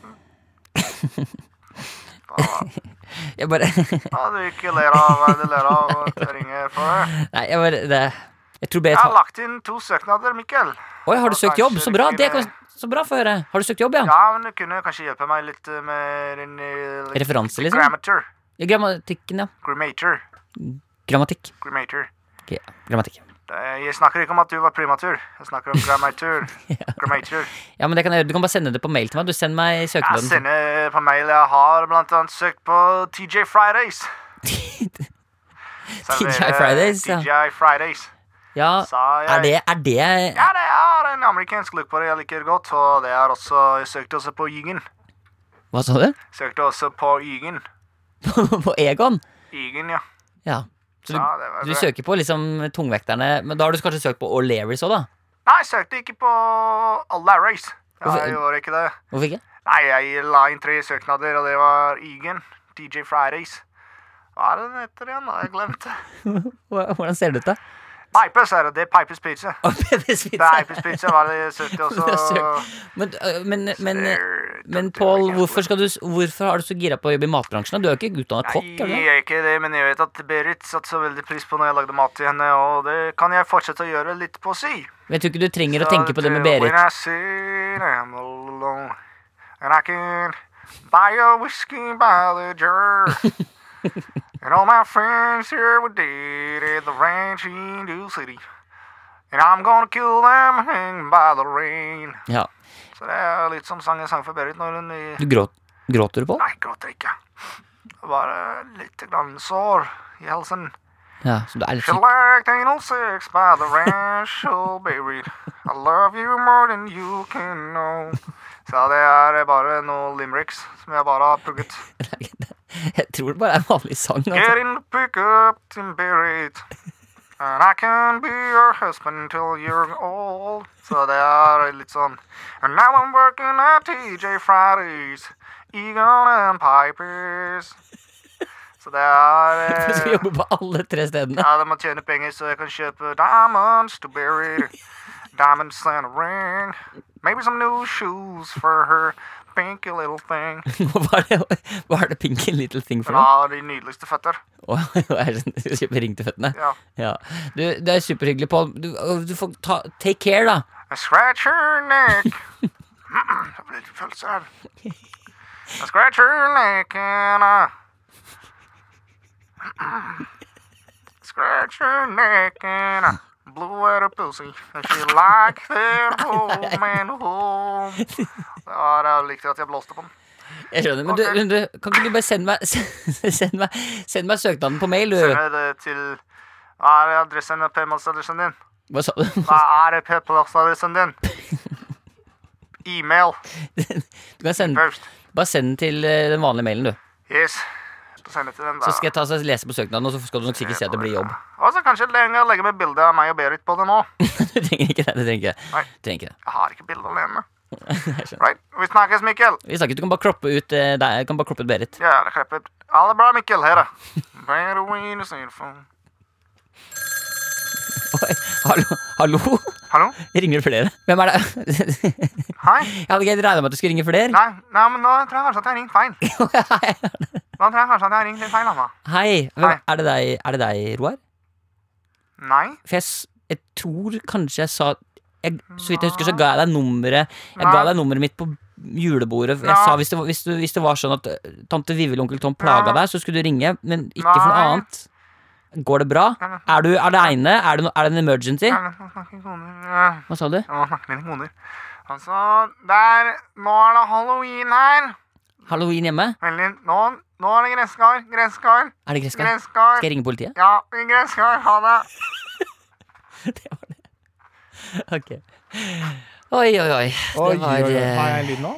[SPEAKER 2] jeg bare
[SPEAKER 3] Ja, du ikke ler av hva du ler av at jeg ringer for deg.
[SPEAKER 2] Nei, jeg bare det, Jeg tror
[SPEAKER 3] Jeg
[SPEAKER 2] Berit
[SPEAKER 3] har
[SPEAKER 2] har
[SPEAKER 3] lagt inn to søknader, Mikkel.
[SPEAKER 2] Oi, har du søkt jobb? Så bra! Det kan,
[SPEAKER 3] Kanskje
[SPEAKER 2] så bra for å høre. Har du søkt jobb, ja?
[SPEAKER 3] Ja, men du kunne kanskje hjelpe meg litt eh, med din eh,
[SPEAKER 2] Referanse, liksom?
[SPEAKER 3] Grammatur.
[SPEAKER 2] Ja, Grammatikken, ja.
[SPEAKER 3] Grammatur.
[SPEAKER 2] Grammatikk.
[SPEAKER 3] Grammatur.
[SPEAKER 2] Ok, grammatikk.
[SPEAKER 3] Eh, Jeg snakker ikke om at du var primatur. Jeg snakker om grammatur. Grammatur.
[SPEAKER 2] Ja, men det kan jeg gjøre. Du kan bare sende det på mail til meg. Du Send meg
[SPEAKER 3] Jeg
[SPEAKER 2] søknaden.
[SPEAKER 3] sender på mail. Jeg har blant annet søkt på TJ Fridays.
[SPEAKER 2] TJ Fridays, ja.
[SPEAKER 3] ja. TJ Fridays.
[SPEAKER 2] Ja,
[SPEAKER 3] Sa jeg.
[SPEAKER 2] er det, er det
[SPEAKER 3] Ja, det er en amerikansk look på det jeg liker godt, og det er også Jeg søkte også på Ygen.
[SPEAKER 2] Hva sa du?
[SPEAKER 3] Søkte også på Ygen.
[SPEAKER 2] på Egon?
[SPEAKER 3] Ygen, ja.
[SPEAKER 2] Ja. Så du,
[SPEAKER 3] Ja, det var
[SPEAKER 2] du
[SPEAKER 3] bra.
[SPEAKER 2] søker på liksom tungvekterne, men da har du kanskje søkt på O'Learys òg, da?
[SPEAKER 3] Nei, jeg søkte ikke på Alaris. Ja,
[SPEAKER 2] Hvorfor-
[SPEAKER 3] jeg gjorde ikke det.
[SPEAKER 2] Hvorfor ikke?
[SPEAKER 3] Nei, jeg la inn tre søknader, og det var Ygen, DJ Fridays. Hva er det den heter igjen? Har jeg glemt det?
[SPEAKER 2] Hva- Hvordan ser det ut, da?
[SPEAKER 3] Pipes er det. Det er Pipes Pizza.
[SPEAKER 2] Pipes Pizza.
[SPEAKER 3] Det er Pipes Pizza, var det jeg søkte
[SPEAKER 2] Du har
[SPEAKER 3] også.
[SPEAKER 2] søkt. Men, øh, men, men, men Pål, hvorfor, skal du, hvorfor er du så gira på å jobbe i matbransjen? da? Du er jo ikke utdanna kokk? er du
[SPEAKER 3] Jeg
[SPEAKER 2] det?
[SPEAKER 3] er ikke det, men jeg vet at Berit satte så veldig pris på når jeg lagde mat til henne, og det kan jeg fortsette å gjøre litt på si.
[SPEAKER 2] Men jeg tror ikke du trenger å
[SPEAKER 3] Så
[SPEAKER 2] tenke på det med Berit.
[SPEAKER 3] When I sit, I'm alone, and I can buy a whiskey by the jar. and all my friends here were dead at the ranch in New City. And I'm gonna kill them hanging by the rain.
[SPEAKER 2] Ja.
[SPEAKER 3] Så det er litt som sangen sang for Berit når hun eh, i-
[SPEAKER 2] Du gråt, gråter du, Pål?
[SPEAKER 3] Nei, gråter ikke. Bare litt grann sår i halsen.
[SPEAKER 2] Ja, så du er litt
[SPEAKER 3] She
[SPEAKER 2] syk?
[SPEAKER 3] liked anal sex by the ranch, oh baby. I love you more than you can know. Så det er bare noen limericks som jeg bare har pugget.
[SPEAKER 2] Jeg tror det bare er en vanlig sang.
[SPEAKER 3] Get
[SPEAKER 2] Altså.
[SPEAKER 3] in the pickup and bury it. And I can be your husband till you're old. Så det er litt sånn. And now I'm working at TJ Fridays. Egon and Pipers. Så det er
[SPEAKER 2] Du skal
[SPEAKER 3] eh,
[SPEAKER 2] jobbe på alle tre stedene.
[SPEAKER 3] Ja, de må tjene penger så jeg kan kjøpe diamonds to bury the diamonds and a ring. Maybe some new shoes for her pinky little thing.
[SPEAKER 2] Hva er det, hva er det Pinky Little Thing for
[SPEAKER 3] Hun
[SPEAKER 2] noe?
[SPEAKER 3] har de nydeligste føtter.
[SPEAKER 2] Å, er det sånn at du kjøper ring til føttene?
[SPEAKER 3] Ja.
[SPEAKER 2] Du, det er superhyggelig, Pål. Du, du får ta Take care, da.
[SPEAKER 3] I scratch her neck. Mm, Jeg blir litt følelse her. I scratch her neck and I Mm, Scratch her neck and I blew at her pussy. And she liked that home and home. Ja, da likte jeg at jeg blåste på den.
[SPEAKER 2] Jeg skjønner, men du, men du, kan ikke du bare sende meg, send meg, send meg søknaden på mail,
[SPEAKER 3] Send
[SPEAKER 2] du?
[SPEAKER 3] meg det til Hva er adressen og p-postadressen din?
[SPEAKER 2] Hva sa du?
[SPEAKER 3] Hva er p-postadressen din? E-mail.
[SPEAKER 2] Du kan sende, bare send den til eh, den vanlige mailen, du.
[SPEAKER 3] Yes. Send det til den, da.
[SPEAKER 2] Så skal jeg ta, så lese på søknaden, og så skal du nok sikkert se at det blir jobb.
[SPEAKER 3] Og så kanskje lenger legge med bilde av meg og Berit på det nå.
[SPEAKER 2] Du trenger ikke det. Du trenger ikke
[SPEAKER 3] Nei.
[SPEAKER 2] det. Du trenger ikke det.
[SPEAKER 3] Jeg har ikke bilde alene.
[SPEAKER 2] Jeg skjønner.
[SPEAKER 3] Right. Vi snakkes, Mikkel.
[SPEAKER 2] Vi snakkes. Du kan bare kroppe ut eh, deg. Du kan bare kroppe ut Berit.
[SPEAKER 3] Ja, det klipper. Ha det bra, Mikkel. Ha det. Bare win is in for-
[SPEAKER 2] Hallo? Hallo?
[SPEAKER 3] Hallo?
[SPEAKER 2] Ringer det flere? Hvem er det?
[SPEAKER 3] Hei.
[SPEAKER 2] Jeg hadde ikke regna med at du skulle ringe flere.
[SPEAKER 3] Nei, nei, men nå tror jeg kanskje at jeg har ringt feil. Nå tror jeg kanskje at jeg har ringt litt feil, Anna.
[SPEAKER 2] Hei. Hvem, er, det deg, er det deg, Roar?
[SPEAKER 3] Nei.
[SPEAKER 2] For jeg, s- jeg tror kanskje jeg sa jeg, Så vidt jeg husker, så ga jeg deg nummeret Jeg ga
[SPEAKER 3] Nei.
[SPEAKER 2] deg nummeret mitt på julebordet. Jeg
[SPEAKER 3] Nei.
[SPEAKER 2] sa hvis det, var- hvis, du, hvis det var sånn at eh, tante Vivi og onkel Tom plaga
[SPEAKER 3] Nei.
[SPEAKER 2] deg, så skulle du ringe, men ikke for noe
[SPEAKER 3] Nei.
[SPEAKER 2] annet. Går det bra? Er du aleine? Er, det no- er det en emergency?
[SPEAKER 3] Jeg snakker koner. Ja.
[SPEAKER 2] Hva sa du?
[SPEAKER 3] Jeg må snakke med dine koner. Altså, der, nå er det halloween her.
[SPEAKER 2] Halloween hjemme?
[SPEAKER 3] Veldig, nå, nå er det gresskar, gresskar.
[SPEAKER 2] Er det gresskar?
[SPEAKER 3] Gresskar.
[SPEAKER 2] Skal jeg ringe politiet?
[SPEAKER 3] Ja, gresskar, ha det.
[SPEAKER 2] Ok. Oi, oi, oi.
[SPEAKER 11] Oi,
[SPEAKER 2] Det var,
[SPEAKER 11] oi, oi.
[SPEAKER 2] eh,
[SPEAKER 11] Har jeg lyd nå?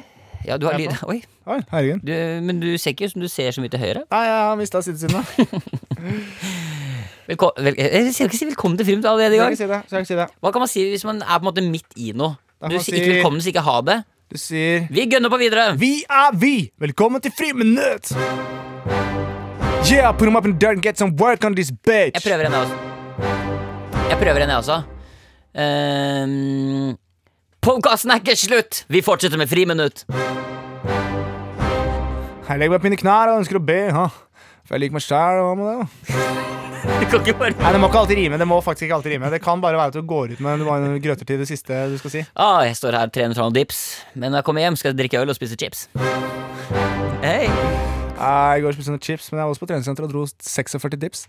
[SPEAKER 2] Ja, du har
[SPEAKER 11] Er jeg
[SPEAKER 2] lyd.
[SPEAKER 11] på?
[SPEAKER 2] Oi. Du, men du ser ikke ut som du ser så mye til høyre.
[SPEAKER 11] Nei, jeg har mista sidesynet.
[SPEAKER 2] Velko vel eh, jeg skal ikke si velkommen til film du er allerede i
[SPEAKER 11] Skal
[SPEAKER 2] gang.
[SPEAKER 11] ikke si det, skal ikke si det.
[SPEAKER 2] Hva kan man si hvis man er på en måte midt i noe?
[SPEAKER 11] Da
[SPEAKER 2] Du
[SPEAKER 11] kan man
[SPEAKER 2] sier ikke
[SPEAKER 11] si-
[SPEAKER 2] velkommen, så ikke ha det.
[SPEAKER 11] Du sier
[SPEAKER 2] Vi gønner på videre.
[SPEAKER 11] Vi er vi! Velkommen til Friminutt! Yeah, put 'em up and down, get some work on this bitch.
[SPEAKER 2] Jeg prøver en, jeg også. Jeg prøver altså. en, jeg også. Um, Podkasten er ikke slutt! Vi fortsetter med Friminutt.
[SPEAKER 11] Jeg legger meg på mine knær og ønsker å be. Ha. For jeg liker meg sjæl. Hva med det? Nei, Det må ikke alltid rime. Det må faktisk ikke alltid rime Det kan bare være at du går ut med en grøter til det siste du skal si.
[SPEAKER 2] Ah, jeg står her 300 dips, men når jeg kommer hjem, skal jeg drikke øl og spise chips. Hei.
[SPEAKER 11] Jeg går og spiser noen chips, men jeg var også på treningssenteret og dro 46 dips.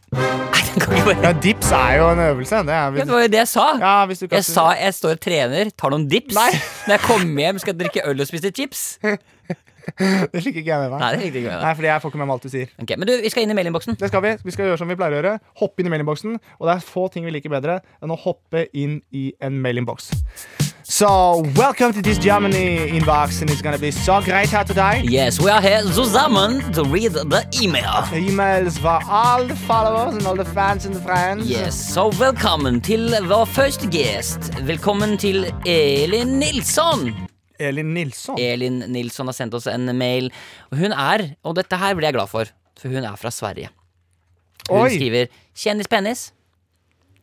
[SPEAKER 11] Ja, dips er jo en øvelse. Det er
[SPEAKER 2] Ja, det var jo det jeg sa.
[SPEAKER 11] kan-
[SPEAKER 2] jeg sa jeg står og trener, tar noen dips. Når jeg kommer hjem, skal jeg drikke øl og spise chips.
[SPEAKER 11] Det liker ikke jeg med meg.
[SPEAKER 2] Nei, det liker ikke jeg med deg.
[SPEAKER 11] Nei, fordi jeg får ikke med meg alt du sier.
[SPEAKER 2] Ok, men du, vi skal inn i mailinnboksen.
[SPEAKER 11] Det skal vi. Vi skal gjøre som vi pleier å gjøre. Hoppe inn i mailinnboksen. Og det er få ting vi liker bedre enn å hoppe inn i en mailinnboks. So, welcome to this Germany inbox, and it's gonna be so great here today.
[SPEAKER 2] Yes, we are here zusammen to read the email.
[SPEAKER 11] The emails for all the followers and all the fans and the friends.
[SPEAKER 2] Yes, so velkommen til vår første gjest. Velkommen til Elin Nilsson.
[SPEAKER 11] Elin Nilsson?
[SPEAKER 2] Elin Nilsson har sendt oss en mail. Og hun er, og dette her blir jeg glad for, for hun er fra Sverige. Hun
[SPEAKER 11] Oi.
[SPEAKER 2] skriver 'kjendispenis'.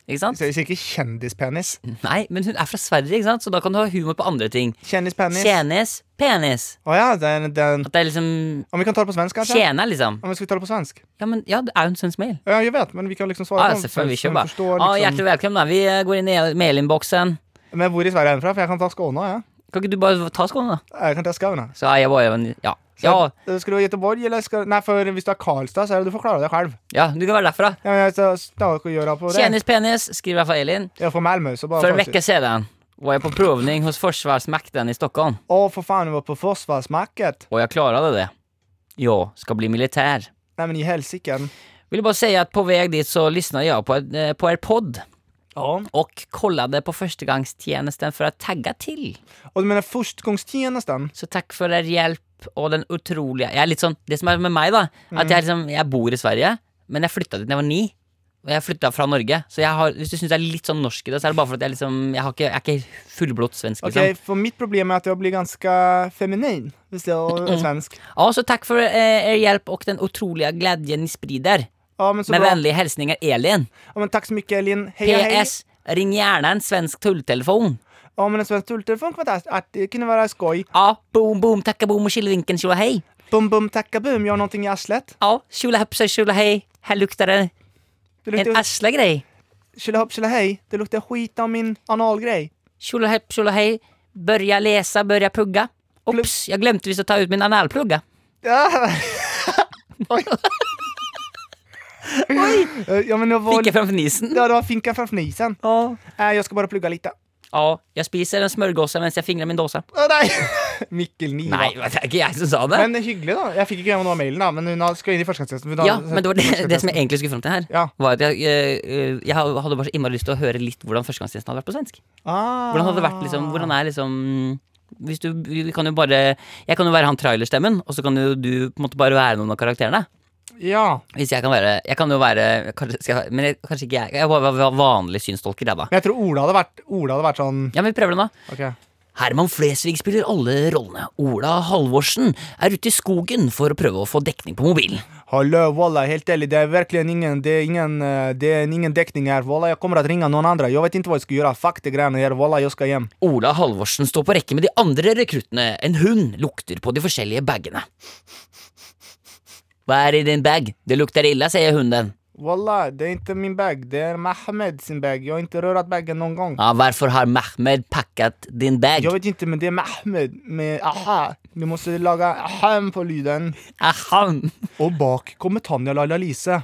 [SPEAKER 2] Ikke sant?
[SPEAKER 11] Så jeg sier ikke kjendispenis.
[SPEAKER 2] Nei, men hun er fra Sverige, ikke sant? så da kan du ha humor på andre ting.
[SPEAKER 11] Kjendispenis.
[SPEAKER 2] Kjenis, penis.
[SPEAKER 11] Å ja, den, den
[SPEAKER 2] At det er liksom
[SPEAKER 11] Om vi kan ta det på svensk, kanskje?
[SPEAKER 2] Tjena, liksom.
[SPEAKER 11] Om vi skal ta det på svensk?
[SPEAKER 2] Ja, men ja, det er jo en svensk mail.
[SPEAKER 11] Ja, jeg vet, men vi kan liksom
[SPEAKER 2] Ja,
[SPEAKER 11] svare på den på
[SPEAKER 2] Ah, selvfølgelig.
[SPEAKER 11] svensk,
[SPEAKER 2] Kjør
[SPEAKER 11] men
[SPEAKER 2] bare. Ja,
[SPEAKER 11] forstår liksom-
[SPEAKER 2] hjertelig velkommen. da. Vi eh, går inn i mailinnboksen.
[SPEAKER 11] Men hvor i Sverige er hun fra? For jeg kan ta Skåne, jeg.
[SPEAKER 2] Kan ikke du bare ta skoene, da?
[SPEAKER 11] Jeg kan ta Skåne.
[SPEAKER 2] Så er jeg bare en Ja.
[SPEAKER 11] Så,
[SPEAKER 2] Ja,
[SPEAKER 11] eh, Skal du ha Göteborg, eller skal Nei, for hvis du er Karlstad, så er det du får klare deg selv.
[SPEAKER 2] ja, du kan være derfra.
[SPEAKER 11] Ja, men jeg skal snakke og gjøre på det.
[SPEAKER 2] Tjenispenis, skriver jeg for Elin.
[SPEAKER 11] Jeg er fra Malmö, så bare
[SPEAKER 2] For en
[SPEAKER 11] fortsett.
[SPEAKER 2] uke siden var jeg på provning hos Forsvarsmakten i Stockholm,
[SPEAKER 11] Å, for faen, hun var på Forsvarsmarked.
[SPEAKER 2] og jeg klarte det. Jeg skal bli militær.
[SPEAKER 11] Nei, men i helsike.
[SPEAKER 2] Vill bara säga att på väg dit så lyssnade jag på, eh, på er podd. Och kollade på förstagångstjänsten för att tagga till.
[SPEAKER 11] Och du menar förstagångstjänsten?
[SPEAKER 2] Så tack för er hjälp och den sånn,
[SPEAKER 11] Mm.
[SPEAKER 2] otroliga... Jag är lite sån, det som är med mig då, att jag, liksom, jag bor i Sverige, men jag flyttade dit när jag var nio. Og jeg flytta fra Norge. Så jeg har, hvis du syns jeg er litt sånn norsk i det, så er det bare fordi jeg liksom Jeg, har ikke, jeg er ikke fullblått svensk.
[SPEAKER 11] Ok,
[SPEAKER 2] Liksom.
[SPEAKER 11] For mitt problem er at jeg blir ganske feminin hvis jeg er svensk.
[SPEAKER 2] Ja, så takk for eh, er hjelp og den utrolige gleden ni sprider.
[SPEAKER 11] men så
[SPEAKER 2] Med
[SPEAKER 11] bra.
[SPEAKER 2] vennlige hilsninger Elin.
[SPEAKER 11] men takk så mye, Elin. Heia, hei.
[SPEAKER 2] PS. Ring gjerne en svensk tulltelefon.
[SPEAKER 11] Ja, men en svensk tulltelefon kan være- at det kunne være skoj.
[SPEAKER 2] Ja, boom, boom, takka boom og killevinken, tjoa hei.
[SPEAKER 11] Boom, boom, takka boom, gjør noe i arslet.
[SPEAKER 2] Ja, tjola hopp, tjola hei. Her lukter det en asla grei.
[SPEAKER 11] Tjolahopp, tjolahei, det lukter skit av min analgrej.
[SPEAKER 2] Tjola hopp, tjola hei. Börja lese, börja pugga. Ops, jeg glemte visst å ta ut min analplugga.
[SPEAKER 11] Ja. Oj! Eh, Ja, men jag var...
[SPEAKER 2] Finka framför nisen.
[SPEAKER 11] Ja, det var finka framför nisen.
[SPEAKER 2] Ja.
[SPEAKER 11] Äh, jag ska bara plugga lite.
[SPEAKER 2] Ja, jeg spiser en smørgåse mens jeg fingrer min dåse.
[SPEAKER 11] Å, nei! Mikkel Niva.
[SPEAKER 2] Nei, det er ikke jeg som sa det.
[SPEAKER 11] Men hyggelig, da. Jeg fikk ikke gjennom noe av mailen, da, men hun har- skal inn i førstegangstesten. for hun har-
[SPEAKER 2] Ja, men det var det, det som jeg egentlig skulle fram til her. Var at jeg, eh, jeg hadde bare så innmari lyst til å høre litt hvordan førstegangstjenesten hadde vært på svensk.
[SPEAKER 11] Ah.
[SPEAKER 2] Hvordan hadde det vært liksom Hvordan er liksom hvis du, vi kan jo bare Jeg kan jo være han trailerstemmen, og så kan jo du på en måte bare være noen av karakterene.
[SPEAKER 11] Ja.
[SPEAKER 2] Hvis jeg kan være Jeg kan jo være kanskje, skal jeg, Men jeg, kanskje ikke jeg. Jeg var, var vanlig synstolker, jeg, da.
[SPEAKER 11] Men jeg tror Ola hadde vært, Ola hadde vært sånn
[SPEAKER 2] Ja, men vi prøver den, da.
[SPEAKER 11] Ok.
[SPEAKER 2] Herman Flesvig spiller alle rollene. Ola Halvorsen er ute i skogen for å prøve å få dekning på mobilen.
[SPEAKER 11] Hallå, Walla, helt ærlig, det er virkelig ingen Det er ingen, eh, det er ingen dekning her. Walla, jeg kommer til å ringe noen andre. Jeg vet ikke hva jeg skal gjøre. Fuck de greiene her. Walla, jeg skal hjem.
[SPEAKER 2] Ola Halvorsen står på rekke med de andre rekruttene. En hund lukter på de forskjellige bagene. Hva er i din bag? Det lukter ille, sier hunden.
[SPEAKER 11] Walla, det er ikke min bag. Det er Mehmed sin bag. Jeg har ikke rørt bagen noen gang.
[SPEAKER 2] Ja, hvorfor har Mehmed pakket din bag?
[SPEAKER 11] Jeg vet ikke, men det er Mehmed med aha. Du må lage ahem på lyden.
[SPEAKER 2] Ahem.
[SPEAKER 11] Og bak kommer Tanja Laila Lise.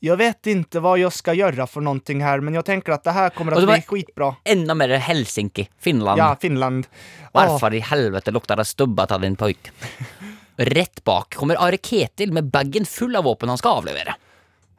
[SPEAKER 11] Jeg vet ikke hva jeg skal gjøre for noe her, men jeg tenker at det her kommer
[SPEAKER 2] Og så
[SPEAKER 11] til å bli
[SPEAKER 2] bare-
[SPEAKER 11] skitbra.
[SPEAKER 2] Enda mer Helsinki, Finland.
[SPEAKER 11] Ja, Finland.
[SPEAKER 2] Hvorfor i helvete lukter det stubbet av din pojk? Rett bak kommer Are Ketil med bagen full av våpen han skal avlevere.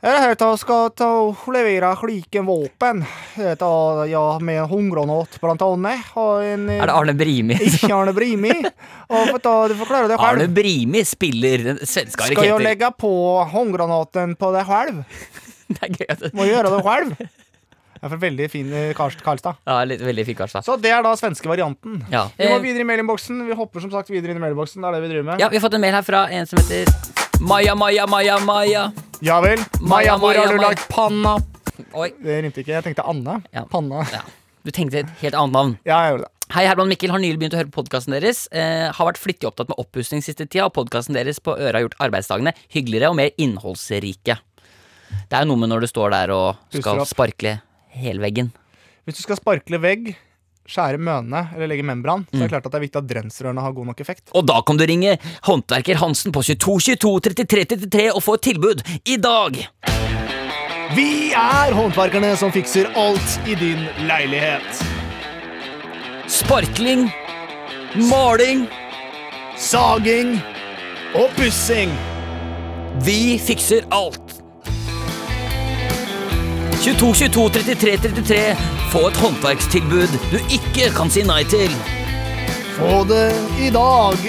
[SPEAKER 11] Jeg er her til å skal ta og levere slike våpen. Jeg tar- Ja, med håndgranat, blant annet. Og en, eh,
[SPEAKER 2] Er det Arne Brimi?
[SPEAKER 11] Ikke Arne Brimi. Og for ta, du får klare deg
[SPEAKER 2] Arne
[SPEAKER 11] selv.
[SPEAKER 2] Brimi spiller den svenske Are
[SPEAKER 11] Skal jeg
[SPEAKER 2] Ketil.
[SPEAKER 11] legge på håndgranaten på deg selv?
[SPEAKER 2] Det er gøy at
[SPEAKER 11] Må gjøre det selv. Det er for veldig fin eh, Karst- Karlstad.
[SPEAKER 2] Ja, litt, veldig fin kars, da.
[SPEAKER 11] Så det er da svenske varianten.
[SPEAKER 2] Ja.
[SPEAKER 11] Vi må
[SPEAKER 2] Eh,
[SPEAKER 11] videre i mailinnboksen. Vi hopper som sagt videre inn i mailinnboksen. Det er det vi driver med.
[SPEAKER 2] Ja, vi har fått en mail her fra en som heter Maja, Maja, Maja, Maja.
[SPEAKER 11] Ja vel. Maja, hvor har du lagt panna?
[SPEAKER 2] Oi.
[SPEAKER 11] Det rimte ikke. Jeg tenkte Anne. Panna.
[SPEAKER 2] Du tenkte et helt annet navn.
[SPEAKER 11] Ja, jeg gjorde det.
[SPEAKER 2] Hei, Herman Mikkel har nylig begynt å høre på podkasten deres. Eh, har vært flittig opptatt med oppussing siste tida, og podkasten deres på øra har gjort arbeidsdagene hyggeligere og mer innholdsrike. Det er jo noe med når du står der og
[SPEAKER 11] Pusser
[SPEAKER 2] skal
[SPEAKER 11] opp.
[SPEAKER 2] sparkle helveggen.
[SPEAKER 11] Hvis du skal sparkle vegg, skjære møne eller legge membran, så er
[SPEAKER 2] Mm.
[SPEAKER 11] det klart at det er viktig at drensrørene har god nok effekt.
[SPEAKER 2] Og da kan du ringe Håndverker Hansen på 22 22 33 33 og få et tilbud i dag!
[SPEAKER 11] Vi er håndverkerne som fikser alt i din leilighet.
[SPEAKER 2] Sparkling, maling,
[SPEAKER 11] saging og pussing.
[SPEAKER 2] Vi fikser alt! 22 22 33 33 Få et håndverkstilbud du ikke kan si nei til.
[SPEAKER 11] Få det i dag.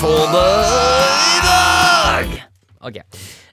[SPEAKER 2] Få det i dag! Ok.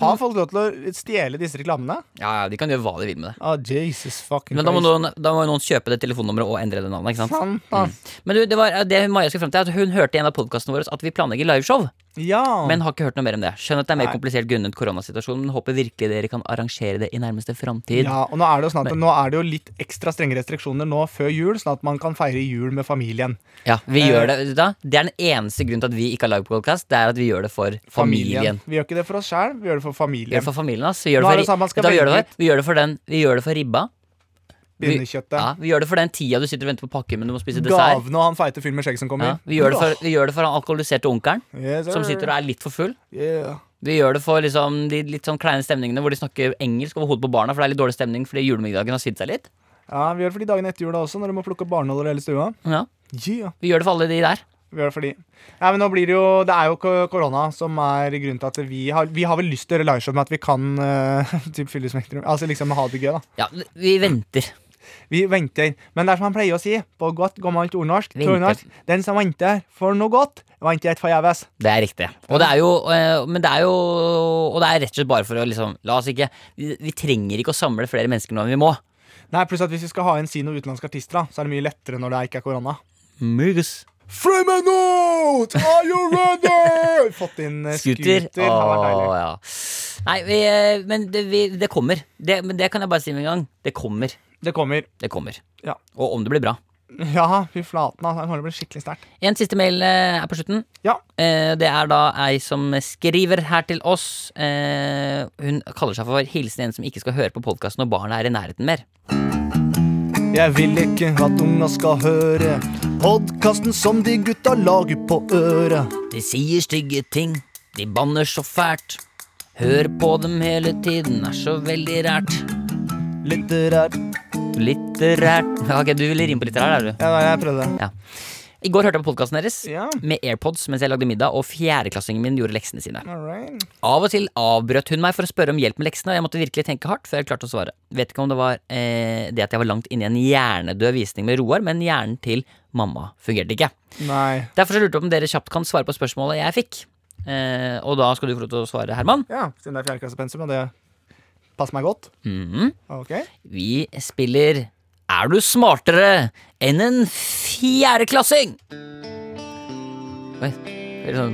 [SPEAKER 11] Har folk lov til å stjele disse reklamene?
[SPEAKER 2] Ja, ja, de kan gjøre hva de vil med det.
[SPEAKER 11] Ah, Jesus fucking
[SPEAKER 2] Men da må,
[SPEAKER 11] Christ.
[SPEAKER 2] noen, da må jo noen kjøpe det telefonnummeret og endre det navnet. ikke sant?
[SPEAKER 11] Sant, da.
[SPEAKER 2] Men du, det var eh, det Maja skulle frem til, at hun hørte i en av podkastene våre at vi planlegger liveshow.
[SPEAKER 11] Mm. Ja.
[SPEAKER 2] Men har ikke hørt noe mer om det. Skjønner at det er mer
[SPEAKER 11] Nei.
[SPEAKER 2] komplisert grunnet koronasituasjonen, men håper virkelig dere kan arrangere det i nærmeste framtid.
[SPEAKER 11] Ja, og nå er, det jo sånn at, nå er det jo litt ekstra strenge restriksjoner nå før jul, sånn at man kan feire jul med familien.
[SPEAKER 2] Ja, vi
[SPEAKER 11] Eh,
[SPEAKER 2] gjør det vet du da. Det er den eneste grunnen til at vi ikke har livepodkast. Det er at vi gjør det for familien.
[SPEAKER 11] Vi gjør ikke det for oss sjæl, vi gjør det for
[SPEAKER 2] Vi gjør
[SPEAKER 11] familien.
[SPEAKER 2] det for familien ass. Vi gjør
[SPEAKER 11] Nå er
[SPEAKER 2] det
[SPEAKER 11] det sånn
[SPEAKER 2] for,
[SPEAKER 11] at man skal
[SPEAKER 2] Vet du hva vi, gjør det
[SPEAKER 11] velge
[SPEAKER 2] for? vi gjør det for den Vi gjør det for ribba. Vi,
[SPEAKER 11] Pinnekjøttet.
[SPEAKER 2] ja, vi gjør det for den tida du sitter og venter på pakke, men du må spise dessert.
[SPEAKER 11] Gavene og han feite fyren med skjegg som
[SPEAKER 2] Ja,
[SPEAKER 11] kommer.
[SPEAKER 2] vi, gjør det for, vi gjør det for han alkoholiserte onkelen
[SPEAKER 11] Yes, sir.
[SPEAKER 2] som sitter og er litt for full.
[SPEAKER 11] Yeah.
[SPEAKER 2] Vi gjør det for liksom, de litt sånn kleine stemningene hvor de snakker engelsk over hodet på barna, for det er litt dårlig stemning fordi julemiddagen har svidd seg litt.
[SPEAKER 11] Ja, vi gjør det for de dagene etter jul da også, når du må plukke opp barneholder i hele stua.
[SPEAKER 2] Ja.
[SPEAKER 11] Yeah.
[SPEAKER 2] Vi gjør det for alle de der.
[SPEAKER 11] Vi gjør det for de. Nei, men nå blir det jo Det er jo ko- korona som er grunnen til at vi har Vi har vel lyst til å gjøre liveshow med at vi kan eh, typ fylle Spektrum. Altså liksom ha det gøy, da.
[SPEAKER 2] Ja, vi venter.
[SPEAKER 11] Vi venter. Men det er som han pleier å si på godt gammelt ordnorsk,
[SPEAKER 2] Venter.
[SPEAKER 11] trøndersk, den som venter for noe godt, venter et forgjeves.
[SPEAKER 2] Det er riktig. Og det er jo, eh, men det er jo Og det er rett og slett bare for å liksom La oss ikke Vi, vi trenger ikke å samle flere mennesker nå enn vi må.
[SPEAKER 11] Nei, pluss at hvis vi skal ha inn si noen utenlandske artister, da, så er det mye lettere når det ikke er korona.
[SPEAKER 2] Myggs.
[SPEAKER 11] Fremenot! Are you ready? Fått inn eh,
[SPEAKER 2] Scooter.
[SPEAKER 11] scooter. Det har vært deilig.
[SPEAKER 2] Åh, ja. Nei, vi, eh, men det, vi, det kommer. Det, men det kan jeg bare si med en gang. Det kommer.
[SPEAKER 11] Det kommer. Ja.
[SPEAKER 2] Og om det blir bra.
[SPEAKER 11] Ja, fy flaten. Altså. Det kommer til å bli skikkelig sterkt.
[SPEAKER 2] En siste mail eh, er på slutten. Eh, Det er da ei som skriver her til oss. Eh, Hun kaller seg for 'Hilsen en som ikke skal høre på podkasten når barna er i nærheten mer'.
[SPEAKER 3] Jeg vil ikke at unga skal høre podkasten som de gutta lager på øret.
[SPEAKER 2] De sier stygge ting, de banner så fælt. Hør på dem hele tiden, er så veldig rært.
[SPEAKER 3] Litterært.
[SPEAKER 2] Litterært. Ja, Ok, du ville rime på litterært, er du?
[SPEAKER 11] Ja, jeg prøvde.
[SPEAKER 2] Ja. I går hørte jeg på podkasten deres med AirPods mens jeg lagde middag, og fjerdeklassingen min gjorde leksene sine.
[SPEAKER 11] All right.
[SPEAKER 2] Av og til avbrøt hun meg for å spørre om hjelp med leksene, og jeg måtte virkelig tenke hardt før jeg klarte å svare. Vet ikke om det var eh, det at jeg var langt inne i en hjernedød visning med Roar, men hjernen til mamma fungerte ikke.
[SPEAKER 11] Nei.
[SPEAKER 2] Derfor så lurte jeg på om dere kjapt kan svare på spørsmålet jeg fikk. Eh, og da skal du få lov til å svare, Herman.
[SPEAKER 11] Ja, siden det er fjerdeklassepensum, og det passer meg godt.
[SPEAKER 2] Mhm.
[SPEAKER 11] Ok.
[SPEAKER 2] Vi spiller Er du smartere enn en fjerdeklassing? Oi, det er sånn.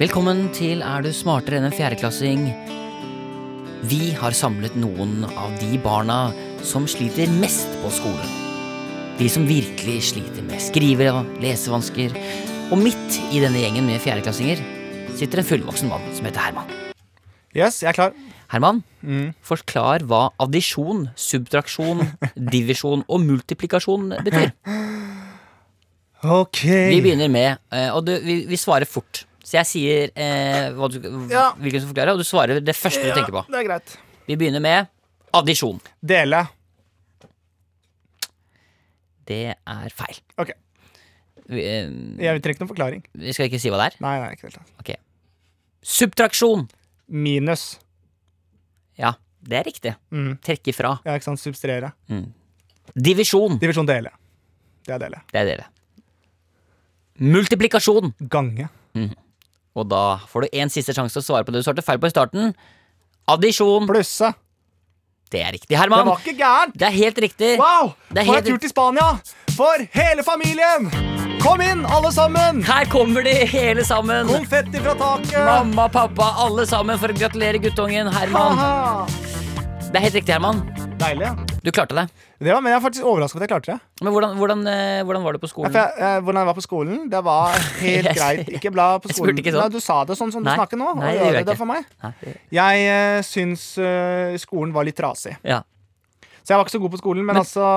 [SPEAKER 2] Velkommen til Er du smartere enn en fjerdeklassing? Vi har samlet noen av de barna som sliter mest på skolen. De som virkelig sliter med skrive- og lesevansker. Og midt i denne gjengen med fjerdeklassinger sitter en fullvoksen mann som heter Herman.
[SPEAKER 11] Yes, jeg er klar.
[SPEAKER 2] Herman,
[SPEAKER 11] Mm.
[SPEAKER 2] forklar hva addisjon, subtraksjon, divisjon og multiplikasjon betyr.
[SPEAKER 11] Ok.
[SPEAKER 2] Vi begynner med eh, Og du, vi, vi svarer fort. Så jeg sier eh, hva du,
[SPEAKER 11] Ja.
[SPEAKER 2] hvilken som forklarer, og du svarer det første du tenker på.
[SPEAKER 11] Det er greit.
[SPEAKER 2] Vi begynner med addisjon.
[SPEAKER 11] Dele.
[SPEAKER 2] Det er feil.
[SPEAKER 11] Ok.
[SPEAKER 2] Vi, eh,
[SPEAKER 11] Jeg vil trekke noen forklaring.
[SPEAKER 2] vi skal ikke si hva det er.
[SPEAKER 11] Nei, nei, ikke helt.
[SPEAKER 2] Ok. Subtraksjon.
[SPEAKER 11] Minus.
[SPEAKER 2] Ja, det er riktig.
[SPEAKER 11] Mm.
[SPEAKER 2] Trekke fra.
[SPEAKER 11] Ja, ikke sant. Substrere.
[SPEAKER 2] Mm. Divisjon.
[SPEAKER 11] Divisjon dele. Det er E. dele.
[SPEAKER 2] Det er dere. Multiplikasjon.
[SPEAKER 11] Gange.
[SPEAKER 2] Mhm. Og da får du én siste sjanse til å svare på det du svarte feil på i starten. Addisjon.
[SPEAKER 11] Plusse.
[SPEAKER 2] Det er riktig, Herman.
[SPEAKER 11] Det var ikke gærent.
[SPEAKER 2] Det er helt riktig.
[SPEAKER 11] Wow!
[SPEAKER 2] Det er
[SPEAKER 11] For en
[SPEAKER 2] helt
[SPEAKER 11] tur til Spania! For hele familien! Kom inn, alle sammen!
[SPEAKER 2] Her kommer de hele sammen.
[SPEAKER 11] Konfetti fra taket.
[SPEAKER 2] Mamma, pappa, alle sammen for å gratulere guttungen Herman.
[SPEAKER 11] Haha.
[SPEAKER 2] Det er helt riktig, Herman.
[SPEAKER 11] Deilig.
[SPEAKER 2] Du klarte det.
[SPEAKER 11] Det var, men jeg er faktisk overrasket over at jeg klarte det.
[SPEAKER 2] Men hvordan, hvordan, eh, hvordan var det på
[SPEAKER 11] Ja,
[SPEAKER 2] skolen?
[SPEAKER 11] for jeg, eh, hvordan jeg var på skolen, det var helt
[SPEAKER 2] Jeg
[SPEAKER 11] greit. Ikke bla på
[SPEAKER 2] jeg
[SPEAKER 11] skolen.
[SPEAKER 2] spurte ikke sånn.
[SPEAKER 11] Nei, du sa det sånn som
[SPEAKER 2] Nei.
[SPEAKER 11] du snakker nå. og
[SPEAKER 2] Nei, det
[SPEAKER 11] gjør
[SPEAKER 2] gjør jeg
[SPEAKER 11] det
[SPEAKER 2] ikke.
[SPEAKER 11] for meg.
[SPEAKER 2] Nei.
[SPEAKER 11] Jeg eh, syns eh, skolen var litt trasig.
[SPEAKER 2] Ja.
[SPEAKER 11] Så jeg var ikke så god på skolen, men, altså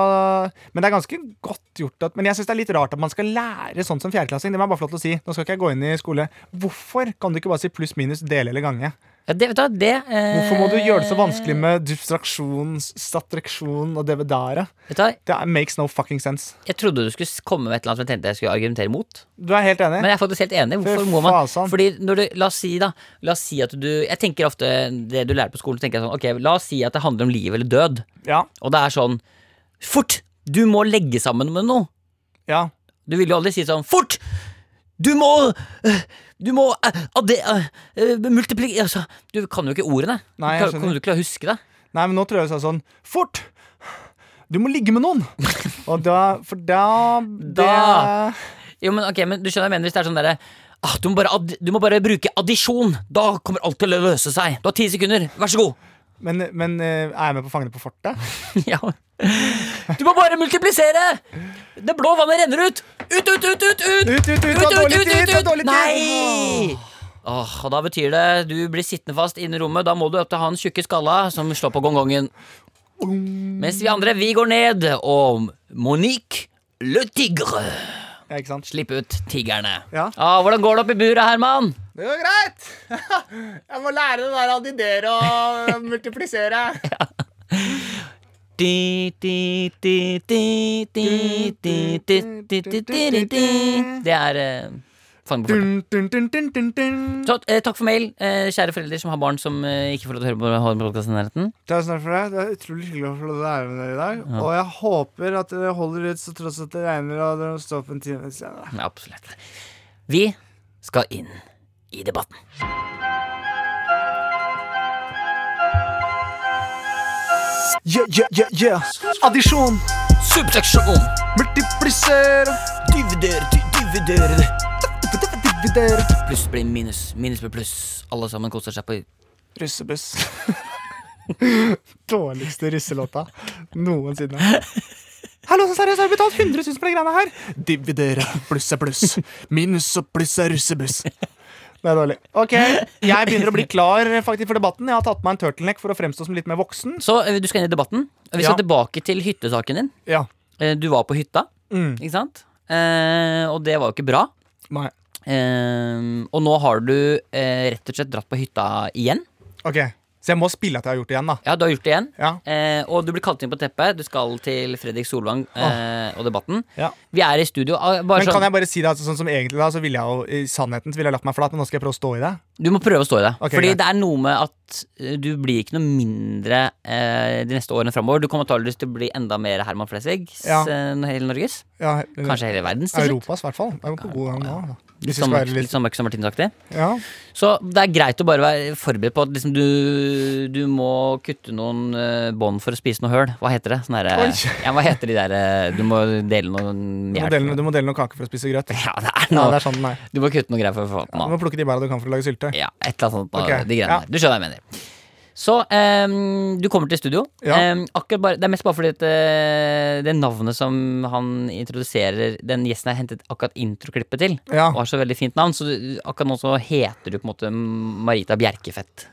[SPEAKER 11] Men det er ganske godt gjort at Men jeg syns det er litt rart at man skal lære sånn som fjerdeklassing. Det må jeg bare få lov til å si. Nå skal ikke jeg gå inn i skole. Hvorfor kan du ikke bare si pluss, minus, dele eller gange?
[SPEAKER 2] Ja, det, vet du, hva, det, eh,
[SPEAKER 11] Hvorfor må du gjøre det så vanskelig med distraksjon, sattraksjon og devedare?
[SPEAKER 2] Vet du hva?
[SPEAKER 11] Det er- makes no fucking sense.
[SPEAKER 2] Jeg trodde du skulle komme med et eller annet som jeg tenkte jeg skulle argumentere mot.
[SPEAKER 11] Du er helt enig?
[SPEAKER 2] Men jeg er faktisk helt enig. Hvorfor
[SPEAKER 11] Fy
[SPEAKER 2] må man
[SPEAKER 11] fasan.
[SPEAKER 2] Fordi når du, La oss si da La oss si at du Jeg tenker ofte det du lærer på skolen, tenker jeg sånn Ok, la oss si at det handler om liv eller død.
[SPEAKER 11] Ja.
[SPEAKER 2] Og det er sånn Fort! Du må legge sammen med noe.
[SPEAKER 11] Ja.
[SPEAKER 2] Du vil jo aldri si sånn Fort! Du må øh, Du må øh, adde, øh, øh, Multipli... Altså, du kan jo ikke ordene.
[SPEAKER 11] Nei,
[SPEAKER 2] du
[SPEAKER 11] jeg
[SPEAKER 2] kan,
[SPEAKER 11] skjønner.
[SPEAKER 2] kommer du ikke til å huske det.
[SPEAKER 11] Nei, men nå tror jeg jeg sa sånn Fort! Du må ligge med noen! Og da For da
[SPEAKER 2] Da.
[SPEAKER 11] det,
[SPEAKER 2] Jo, men ok, men du skjønner hva jeg mener hvis det er sånn derre ah, du, må bare add, du må bare bruke addisjon. Da kommer alt til å løse seg. Du har ti sekunder. Vær så god.
[SPEAKER 11] men, men eh, er jeg med på Fangene på fortet?
[SPEAKER 2] ja. Du må bare multiplisere! Det blå vannet renner ut! Ut, ut, ut, ut! Ut,
[SPEAKER 11] ut, ut! ut,
[SPEAKER 2] ut,
[SPEAKER 11] dårlig
[SPEAKER 2] ut,
[SPEAKER 11] tid,
[SPEAKER 2] ut,
[SPEAKER 11] det er
[SPEAKER 2] ut.
[SPEAKER 11] dårlig tid.
[SPEAKER 2] Nei! Åh, og Da betyr det du blir sittende fast inne i rommet. Da må du opp til han tjukke skalla som slår på gongongen. Mens vi andre, vi går ned. Og Monique le tigre.
[SPEAKER 11] Ja, ikke sant?
[SPEAKER 2] Slipp ut tigerne.
[SPEAKER 11] Ja.
[SPEAKER 2] Ah, hvordan går det opp i buret, Herman?
[SPEAKER 11] Det går greit! Jeg må lære det der addidere og multiplisere.
[SPEAKER 2] Di, di, di, di, di, di, di, di, di, di, di. Det er eh, Fange på farta.
[SPEAKER 11] Dun, dun, dun, dun, dun, dun.
[SPEAKER 2] Så, eh, takk for mail, eh, kjære foreldre som har barn som eh, ikke får lov til å høre på Holmen podkast i nærheten.
[SPEAKER 11] Tusen takk for det. Det er utrolig hyggelig å få lov til å være med dere i dag.
[SPEAKER 2] Ja.
[SPEAKER 11] Og jeg håper at dere holder ut, så tross at det regner og dere må stå opp en time senere.
[SPEAKER 2] Ja, Absolutt. Vi skal inn i debatten.
[SPEAKER 11] Yeah, yeah, yeah, yeah. Addisjon.
[SPEAKER 2] Subtraksjon.
[SPEAKER 11] Multiplisere.
[SPEAKER 2] Dividere, di- dividere. Dividere. Pluss blir minus, minus blir pluss. Alle sammen koser seg på
[SPEAKER 11] Russebuss. Dårligste russelåta noensinne. Hallo, så seriøst, jeg har betalt 100 000 for de greiene her. Dividere, pluss er pluss. Minus og pluss er russebuss. Det er dårlig. Ok, Jeg begynner å bli klar faktisk for debatten. Jeg har tatt på meg en turtleneck for å fremstå som litt mer voksen.
[SPEAKER 2] Så eh, du skal inn i debatten. Vi skal
[SPEAKER 11] Ja.
[SPEAKER 2] tilbake til hyttesaken din.
[SPEAKER 11] Ja.
[SPEAKER 2] Eh, Du var på hytta,
[SPEAKER 11] Mm.
[SPEAKER 2] ikke sant? Eh, og det var jo ikke bra.
[SPEAKER 11] Nei.
[SPEAKER 2] Eh, og nå har du eh, rett og slett dratt på hytta igjen.
[SPEAKER 11] Ok, Så jeg må spille at jeg har gjort det igjen, da.
[SPEAKER 2] Ja, du har gjort det igjen.
[SPEAKER 11] Ja.
[SPEAKER 2] Eh, og du blir kalt inn på teppet. Du skal til Fredrik Solvang eh, og Debatten.
[SPEAKER 11] Ja.
[SPEAKER 2] Vi er i studio. Ah, Bare
[SPEAKER 11] Men
[SPEAKER 2] sånn,
[SPEAKER 11] kan jeg bare si det altså, sånn som egentlig da, så ville jeg jo, i sannheten så ville jeg lagt meg flat, men nå skal jeg prøve å stå i det.
[SPEAKER 2] Du må prøve å stå i det.
[SPEAKER 11] Ok,
[SPEAKER 2] Fordi
[SPEAKER 11] greit.
[SPEAKER 2] det er noe med at eh, du blir ikke noe mindre eh, de neste årene framover. Du kommer antakeligvis til å bli enda mer Herman Flesvig. eh,
[SPEAKER 11] Ja.
[SPEAKER 2] Hele Norges.
[SPEAKER 11] Ja,
[SPEAKER 2] Kanskje hele verdens til slutt.
[SPEAKER 11] Europas, i hvert fall. Det er jo på god gang nå. Da.
[SPEAKER 2] Litt
[SPEAKER 11] Hvis vi
[SPEAKER 2] sånn
[SPEAKER 11] skal
[SPEAKER 2] Mørk-
[SPEAKER 11] være
[SPEAKER 2] litt
[SPEAKER 11] litt
[SPEAKER 2] sånn Mørk som Martinus-aktig.
[SPEAKER 11] Ja.
[SPEAKER 2] Så det er greit å bare være forberedt på at liksom du, du må kutte noen eh, bånd for å spise noe høl. Hva heter det? Sånn derre-
[SPEAKER 11] Oi.
[SPEAKER 2] ja, hva heter de der eh, Du må dele noen
[SPEAKER 11] Du må,
[SPEAKER 2] hjelp.
[SPEAKER 11] dele, du må dele noe kake for å spise grøt.
[SPEAKER 2] Ja, det er
[SPEAKER 11] Ja,
[SPEAKER 2] noe.
[SPEAKER 11] det er sånn den er.
[SPEAKER 2] Du må kutte noe greier for å få den
[SPEAKER 11] Du
[SPEAKER 2] av.
[SPEAKER 11] må plukke de bæra du kan for å lage sylte.
[SPEAKER 2] Ja, et eller annet sånt. da,
[SPEAKER 11] Ok,
[SPEAKER 2] De greiene
[SPEAKER 11] ja.
[SPEAKER 2] der. Du skjønner hva jeg mener. Så ehm, du kommer til studio.
[SPEAKER 11] Ja.
[SPEAKER 2] Ehm, akkurat bare, det er mest bare fordi at, eh, det navnet som han introduserer Den gjesten har hentet akkurat introklippet til,
[SPEAKER 11] Ja.
[SPEAKER 2] og har så veldig fint navn. Så du, akkurat nå så heter du på en måte Marita Bjerkefett.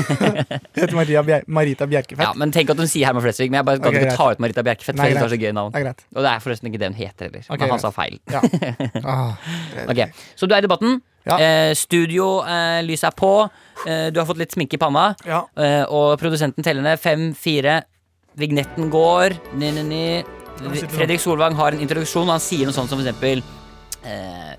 [SPEAKER 11] Jeg heter Maria Bjer Marita Bjerkefett.
[SPEAKER 2] Ja, men Tenk at hun sier Herman Flesvig, men jeg bare kan
[SPEAKER 11] Ok,
[SPEAKER 2] ikke
[SPEAKER 11] greit.
[SPEAKER 2] ta ut Marita Bjerkefett.
[SPEAKER 11] Nei,
[SPEAKER 2] for det
[SPEAKER 11] greit.
[SPEAKER 2] er så gøy navn
[SPEAKER 11] Det er greit.
[SPEAKER 2] Og det er forresten ikke det hun heter heller.
[SPEAKER 11] Ok,
[SPEAKER 2] men
[SPEAKER 11] greit.
[SPEAKER 2] han sa feil.
[SPEAKER 11] Ja. Ah,
[SPEAKER 2] Ok, Så du er i debatten. Eh, studio, eh, lyset er på. Eh, du har fått litt sminke i panna.
[SPEAKER 11] Ja.
[SPEAKER 2] Eh, og produsenten teller ned fem, fire. Vignetten går. Ni, ni, ni.
[SPEAKER 11] Nå sitter
[SPEAKER 2] Fredrik Solvang har en introduksjon. og Han sier noe sånt som for eksempel eh,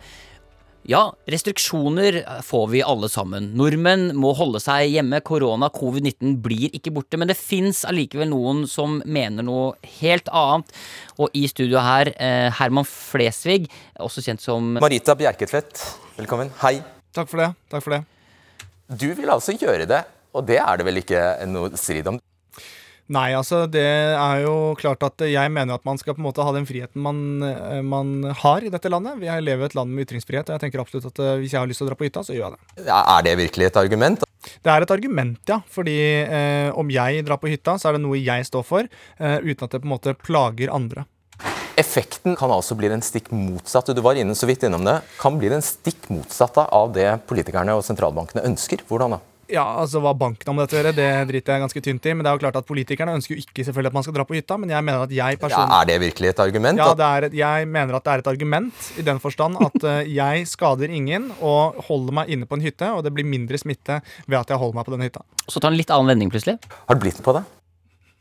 [SPEAKER 2] ja, restriksjoner får vi alle sammen. Nordmenn må holde seg hjemme. Korona, covid-19 blir ikke borte. Men det fins allikevel noen som mener noe helt annet. Og i studio her, eh, Herman Flesvig, også kjent som
[SPEAKER 7] Marita Bjerketvedt, velkommen. Hei.
[SPEAKER 11] Takk for det. Takk for det.
[SPEAKER 7] Du vil altså gjøre det, og det er det vel ikke noe strid om?
[SPEAKER 11] Nei, altså, det er jo klart at jeg mener at man skal på en måte ha den friheten man, eh, man har i dette landet. Jeg lever i et land med ytringsfrihet, og jeg tenker absolutt at eh, hvis jeg har lyst til å dra på hytta, så gjør jeg det.
[SPEAKER 7] Ja, Er det virkelig et argument?
[SPEAKER 11] Det er et argument, ja. Fordi eh, om jeg drar på hytta, så er det noe jeg står for, eh, uten at det på en måte plager andre.
[SPEAKER 7] Effekten kan altså bli den stikk motsatte. Du var inne så vidt innom det. Kan bli den stikk motsatte av det politikerne og sentralbankene ønsker. Hvordan da?
[SPEAKER 11] Ja, altså Hva banken har med dette å gjøre, det driter jeg ganske tynt i. Men det er jo klart at politikerne ønsker jo ikke selvfølgelig at man skal dra på hytta, men jeg mener at jeg
[SPEAKER 7] Ja,
[SPEAKER 11] personlig
[SPEAKER 7] er det virkelig et argument?
[SPEAKER 11] ja, det er, et- jeg mener at det er et argument i den forstand at eh, jeg skader ingen og holder meg inne på en hytte, og det blir mindre smitte ved at jeg holder meg på denne hytta.
[SPEAKER 2] Så tar han litt annen vending plutselig.
[SPEAKER 7] Har du blitt med på det?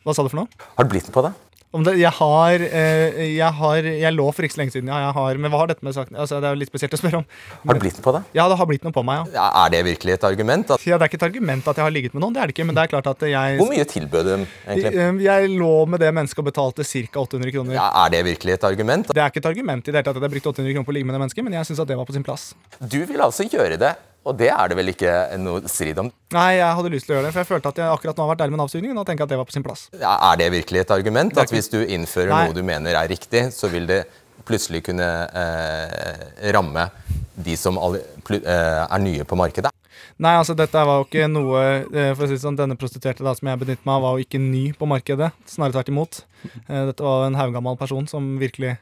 [SPEAKER 11] Hva sa du for noe?
[SPEAKER 7] Har du blitt med på det?
[SPEAKER 11] Om det, jeg har, eh, jeg har Jeg lå for ikke så lenge siden, ja, jeg har Men hva har dette med saken altså, Det er jo litt spesielt å spørre om.
[SPEAKER 7] Har du blitt med på det?
[SPEAKER 11] Ja, det har blitt noe på meg, ja.
[SPEAKER 7] Ja, er det virkelig et argument?
[SPEAKER 11] Ja, det er ikke et argument at jeg har ligget med noen, det er det ikke, men det er klart at jeg
[SPEAKER 7] Hvor mye tilbød de egentlig?
[SPEAKER 11] Eh, Jeg lå med det mennesket og betalte ca. 800 kroner.
[SPEAKER 7] Ja, er det virkelig et argument?
[SPEAKER 11] Det er ikke et argument i det hele tatt at jeg brukte 800 kroner på å ligge med det mennesket, men jeg syns det var på sin plass.
[SPEAKER 7] Du vil altså gjøre det, og det er det vel ikke noe strid om?
[SPEAKER 11] Nei, jeg hadde lyst til å gjøre det, for jeg følte at jeg akkurat nå har vært ærlig med Nav-sugningen, og tenker jeg at det var på sin plass.
[SPEAKER 7] Ja, Er det virkelig et argument at hvis du innfører
[SPEAKER 11] Nei.
[SPEAKER 7] noe du mener er riktig, så vil det plutselig kunne eh, ramme de som alle, plu, eh, er nye på markedet?
[SPEAKER 11] Nei, altså dette var jo ikke noe eh, For å si det sånn, denne prostituerte da som jeg benyttet meg av, var jo ikke ny på markedet. Snarere tvert imot. Eh, Dette var en haugammal person som virkelig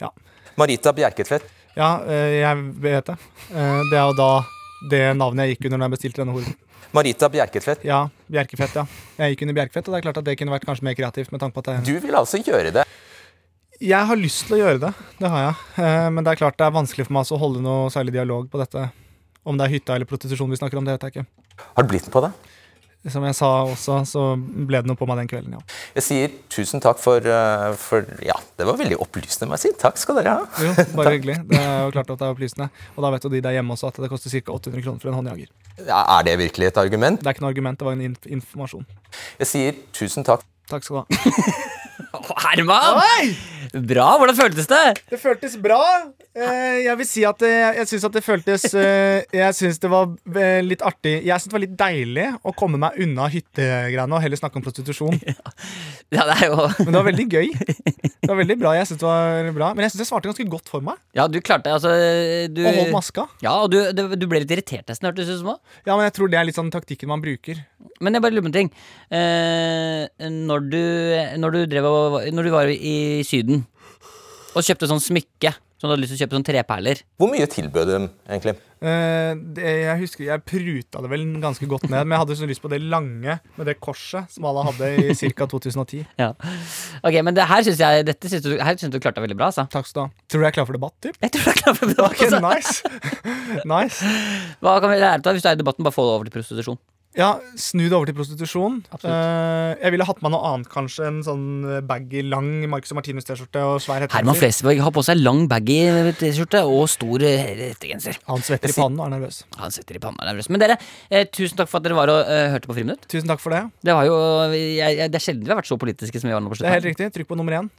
[SPEAKER 11] Ja.
[SPEAKER 7] Marita Bjerketvedt,
[SPEAKER 11] Ja, eh, jeg vet det. Eh, Det er jo da det navnet jeg gikk under når jeg bestilte denne horen.
[SPEAKER 7] Marita Bjerketvedt,
[SPEAKER 11] Ja, Bjerkefett, ja. Jeg gikk under Bjerkefett, og det er klart at det kunne vært kanskje mer kreativt. med tanke på at
[SPEAKER 7] du
[SPEAKER 11] jeg...
[SPEAKER 7] vil altså gjøre det.
[SPEAKER 11] jeg har lyst til å gjøre det, det har jeg. Eh, Men det er klart det er vanskelig for meg altså å holde noe særlig dialog på dette. Om det er hytta eller prostitusjon vi snakker om, det vet jeg ikke.
[SPEAKER 7] Har du blitt med på det?
[SPEAKER 11] Som jeg sa også, så ble det noe på meg den kvelden, ja.
[SPEAKER 7] Jeg sier tusen takk for, eh, for Ja, det var veldig opplysende, må jeg si. Takk skal dere ha.
[SPEAKER 11] Jo, bare hyggelig. Det er jo klart at det er opplysende. Og da vet jo de der hjemme også at det koster ca. 800 kroner for en håndjager.
[SPEAKER 7] Ja, Er det virkelig et argument?
[SPEAKER 11] Det er ikke noe argument, det var en inf informasjon.
[SPEAKER 7] Jeg sier tusen takk.
[SPEAKER 11] Takk skal du ha.
[SPEAKER 2] Herman! Bra! Hvordan føltes det?
[SPEAKER 11] Det føltes bra. Eh, jeg vil si at det, jeg syns at det føltes eh, Jeg syns det var eh, litt artig Jeg syns det var litt deilig å komme meg unna hyttegreiene og heller snakke om prostitusjon.
[SPEAKER 2] Ja, det er jo
[SPEAKER 11] Men det var veldig gøy. Det var veldig bra. Jeg synes det var bra Men jeg syns jeg svarte ganske godt for meg.
[SPEAKER 2] Ja, du klarte det. Altså, du
[SPEAKER 11] Og holdt maska.
[SPEAKER 2] Ja, og du, du, du ble litt irritert nesten, hørtes det ut som. også.
[SPEAKER 11] Ja, men jeg tror det er litt sånn taktikken man bruker.
[SPEAKER 2] Men jeg bare lurer på en ting. Eh, når, du, når, du drev og, når du var i Syden og kjøpte sånn smykke som du hadde lyst til å kjøpe sånn treperler
[SPEAKER 7] Hvor mye tilbød de, egentlig?
[SPEAKER 11] Eh, det, jeg husker jeg pruta det vel ganske godt ned, men jeg hadde så lyst på det lange med det korset som alle hadde i ca. 2010.
[SPEAKER 2] Ja. Ok, men det her syns jeg Dette synes du, her synes du klarte deg veldig bra, altså.
[SPEAKER 11] Takk skal du ha. Tror du jeg er klar for debatt, typ?
[SPEAKER 2] Jeg tror jeg er klar for debatt.
[SPEAKER 11] Ok, nice. nice.
[SPEAKER 2] altså. Hva kan vi lære av hvis du er i debatten? Bare få det over til prostitusjon.
[SPEAKER 11] Ja, snu det over til prostitusjon. Eh, jeg ville hatt med noe annet, kanskje. En sånn baggy, lang Marcus og Martinus-T-skjorte og svær hettegenser.
[SPEAKER 2] Herman Flesvig har på seg lang baggy T-skjorte og stor eh, hettegenser.
[SPEAKER 11] Han svetter i pannen og er nervøs.
[SPEAKER 2] Han svetter i pannen og er nervøs. Men dere, eh, tusen takk for at dere var og eh, hørte på Friminutt.
[SPEAKER 11] Tusen takk for det.
[SPEAKER 2] Det, var jo, eh, jeg, jeg, det er sjelden vi har vært så politiske som vi var nå på
[SPEAKER 11] Det er helt
[SPEAKER 2] slutten.
[SPEAKER 11] riktig. Trykk på nummer én.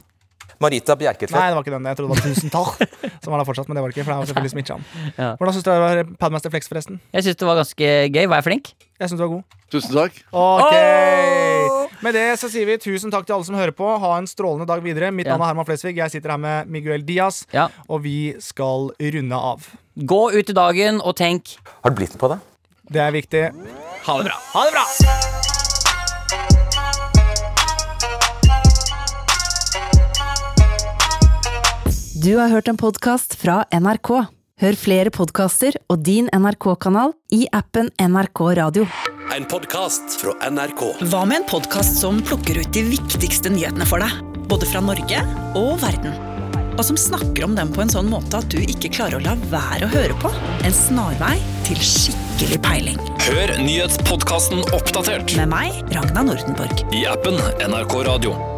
[SPEAKER 7] Marita
[SPEAKER 11] Nei,
[SPEAKER 7] Bjerketvedt.
[SPEAKER 11] det var ikke den. Jeg trodde det var tusen takk. Som var der fortsatt, men det var det ikke. For det var selvfølgelig smittsom.
[SPEAKER 2] Ja.
[SPEAKER 11] Hvordan syns du det var Padmaster Flex, forresten?
[SPEAKER 2] Jeg syns det var ganske gøy. Var jeg flink?
[SPEAKER 11] Jeg syns du var god.
[SPEAKER 12] Tusen takk.
[SPEAKER 11] Ok! Med det så sier vi tusen takk til alle som hører på. Ha en strålende dag videre. Mitt
[SPEAKER 2] Ja.
[SPEAKER 11] navn er Herman Flesvig. Jeg sitter her med Miguel Diaz, og vi skal runde av.
[SPEAKER 2] Gå ut i dagen og tenk
[SPEAKER 7] Har du blitt med på det?
[SPEAKER 11] Det er viktig.
[SPEAKER 2] Ha det bra.
[SPEAKER 11] Ha det bra!
[SPEAKER 1] Du har hørt en podkast fra NRK. Hør flere podkaster og din NRK-kanal i appen NRK Radio.
[SPEAKER 13] En podkast fra NRK.
[SPEAKER 1] Hva med en podkast som plukker ut de viktigste nyhetene for deg?
[SPEAKER 14] Både fra Norge og verden. Og som snakker om dem på en sånn måte at du ikke klarer å la være å høre på. En snarvei til skikkelig peiling.
[SPEAKER 13] Hør nyhetspodkasten oppdatert
[SPEAKER 14] Med meg, Ragna Nordenborg.
[SPEAKER 13] i appen NRK Radio.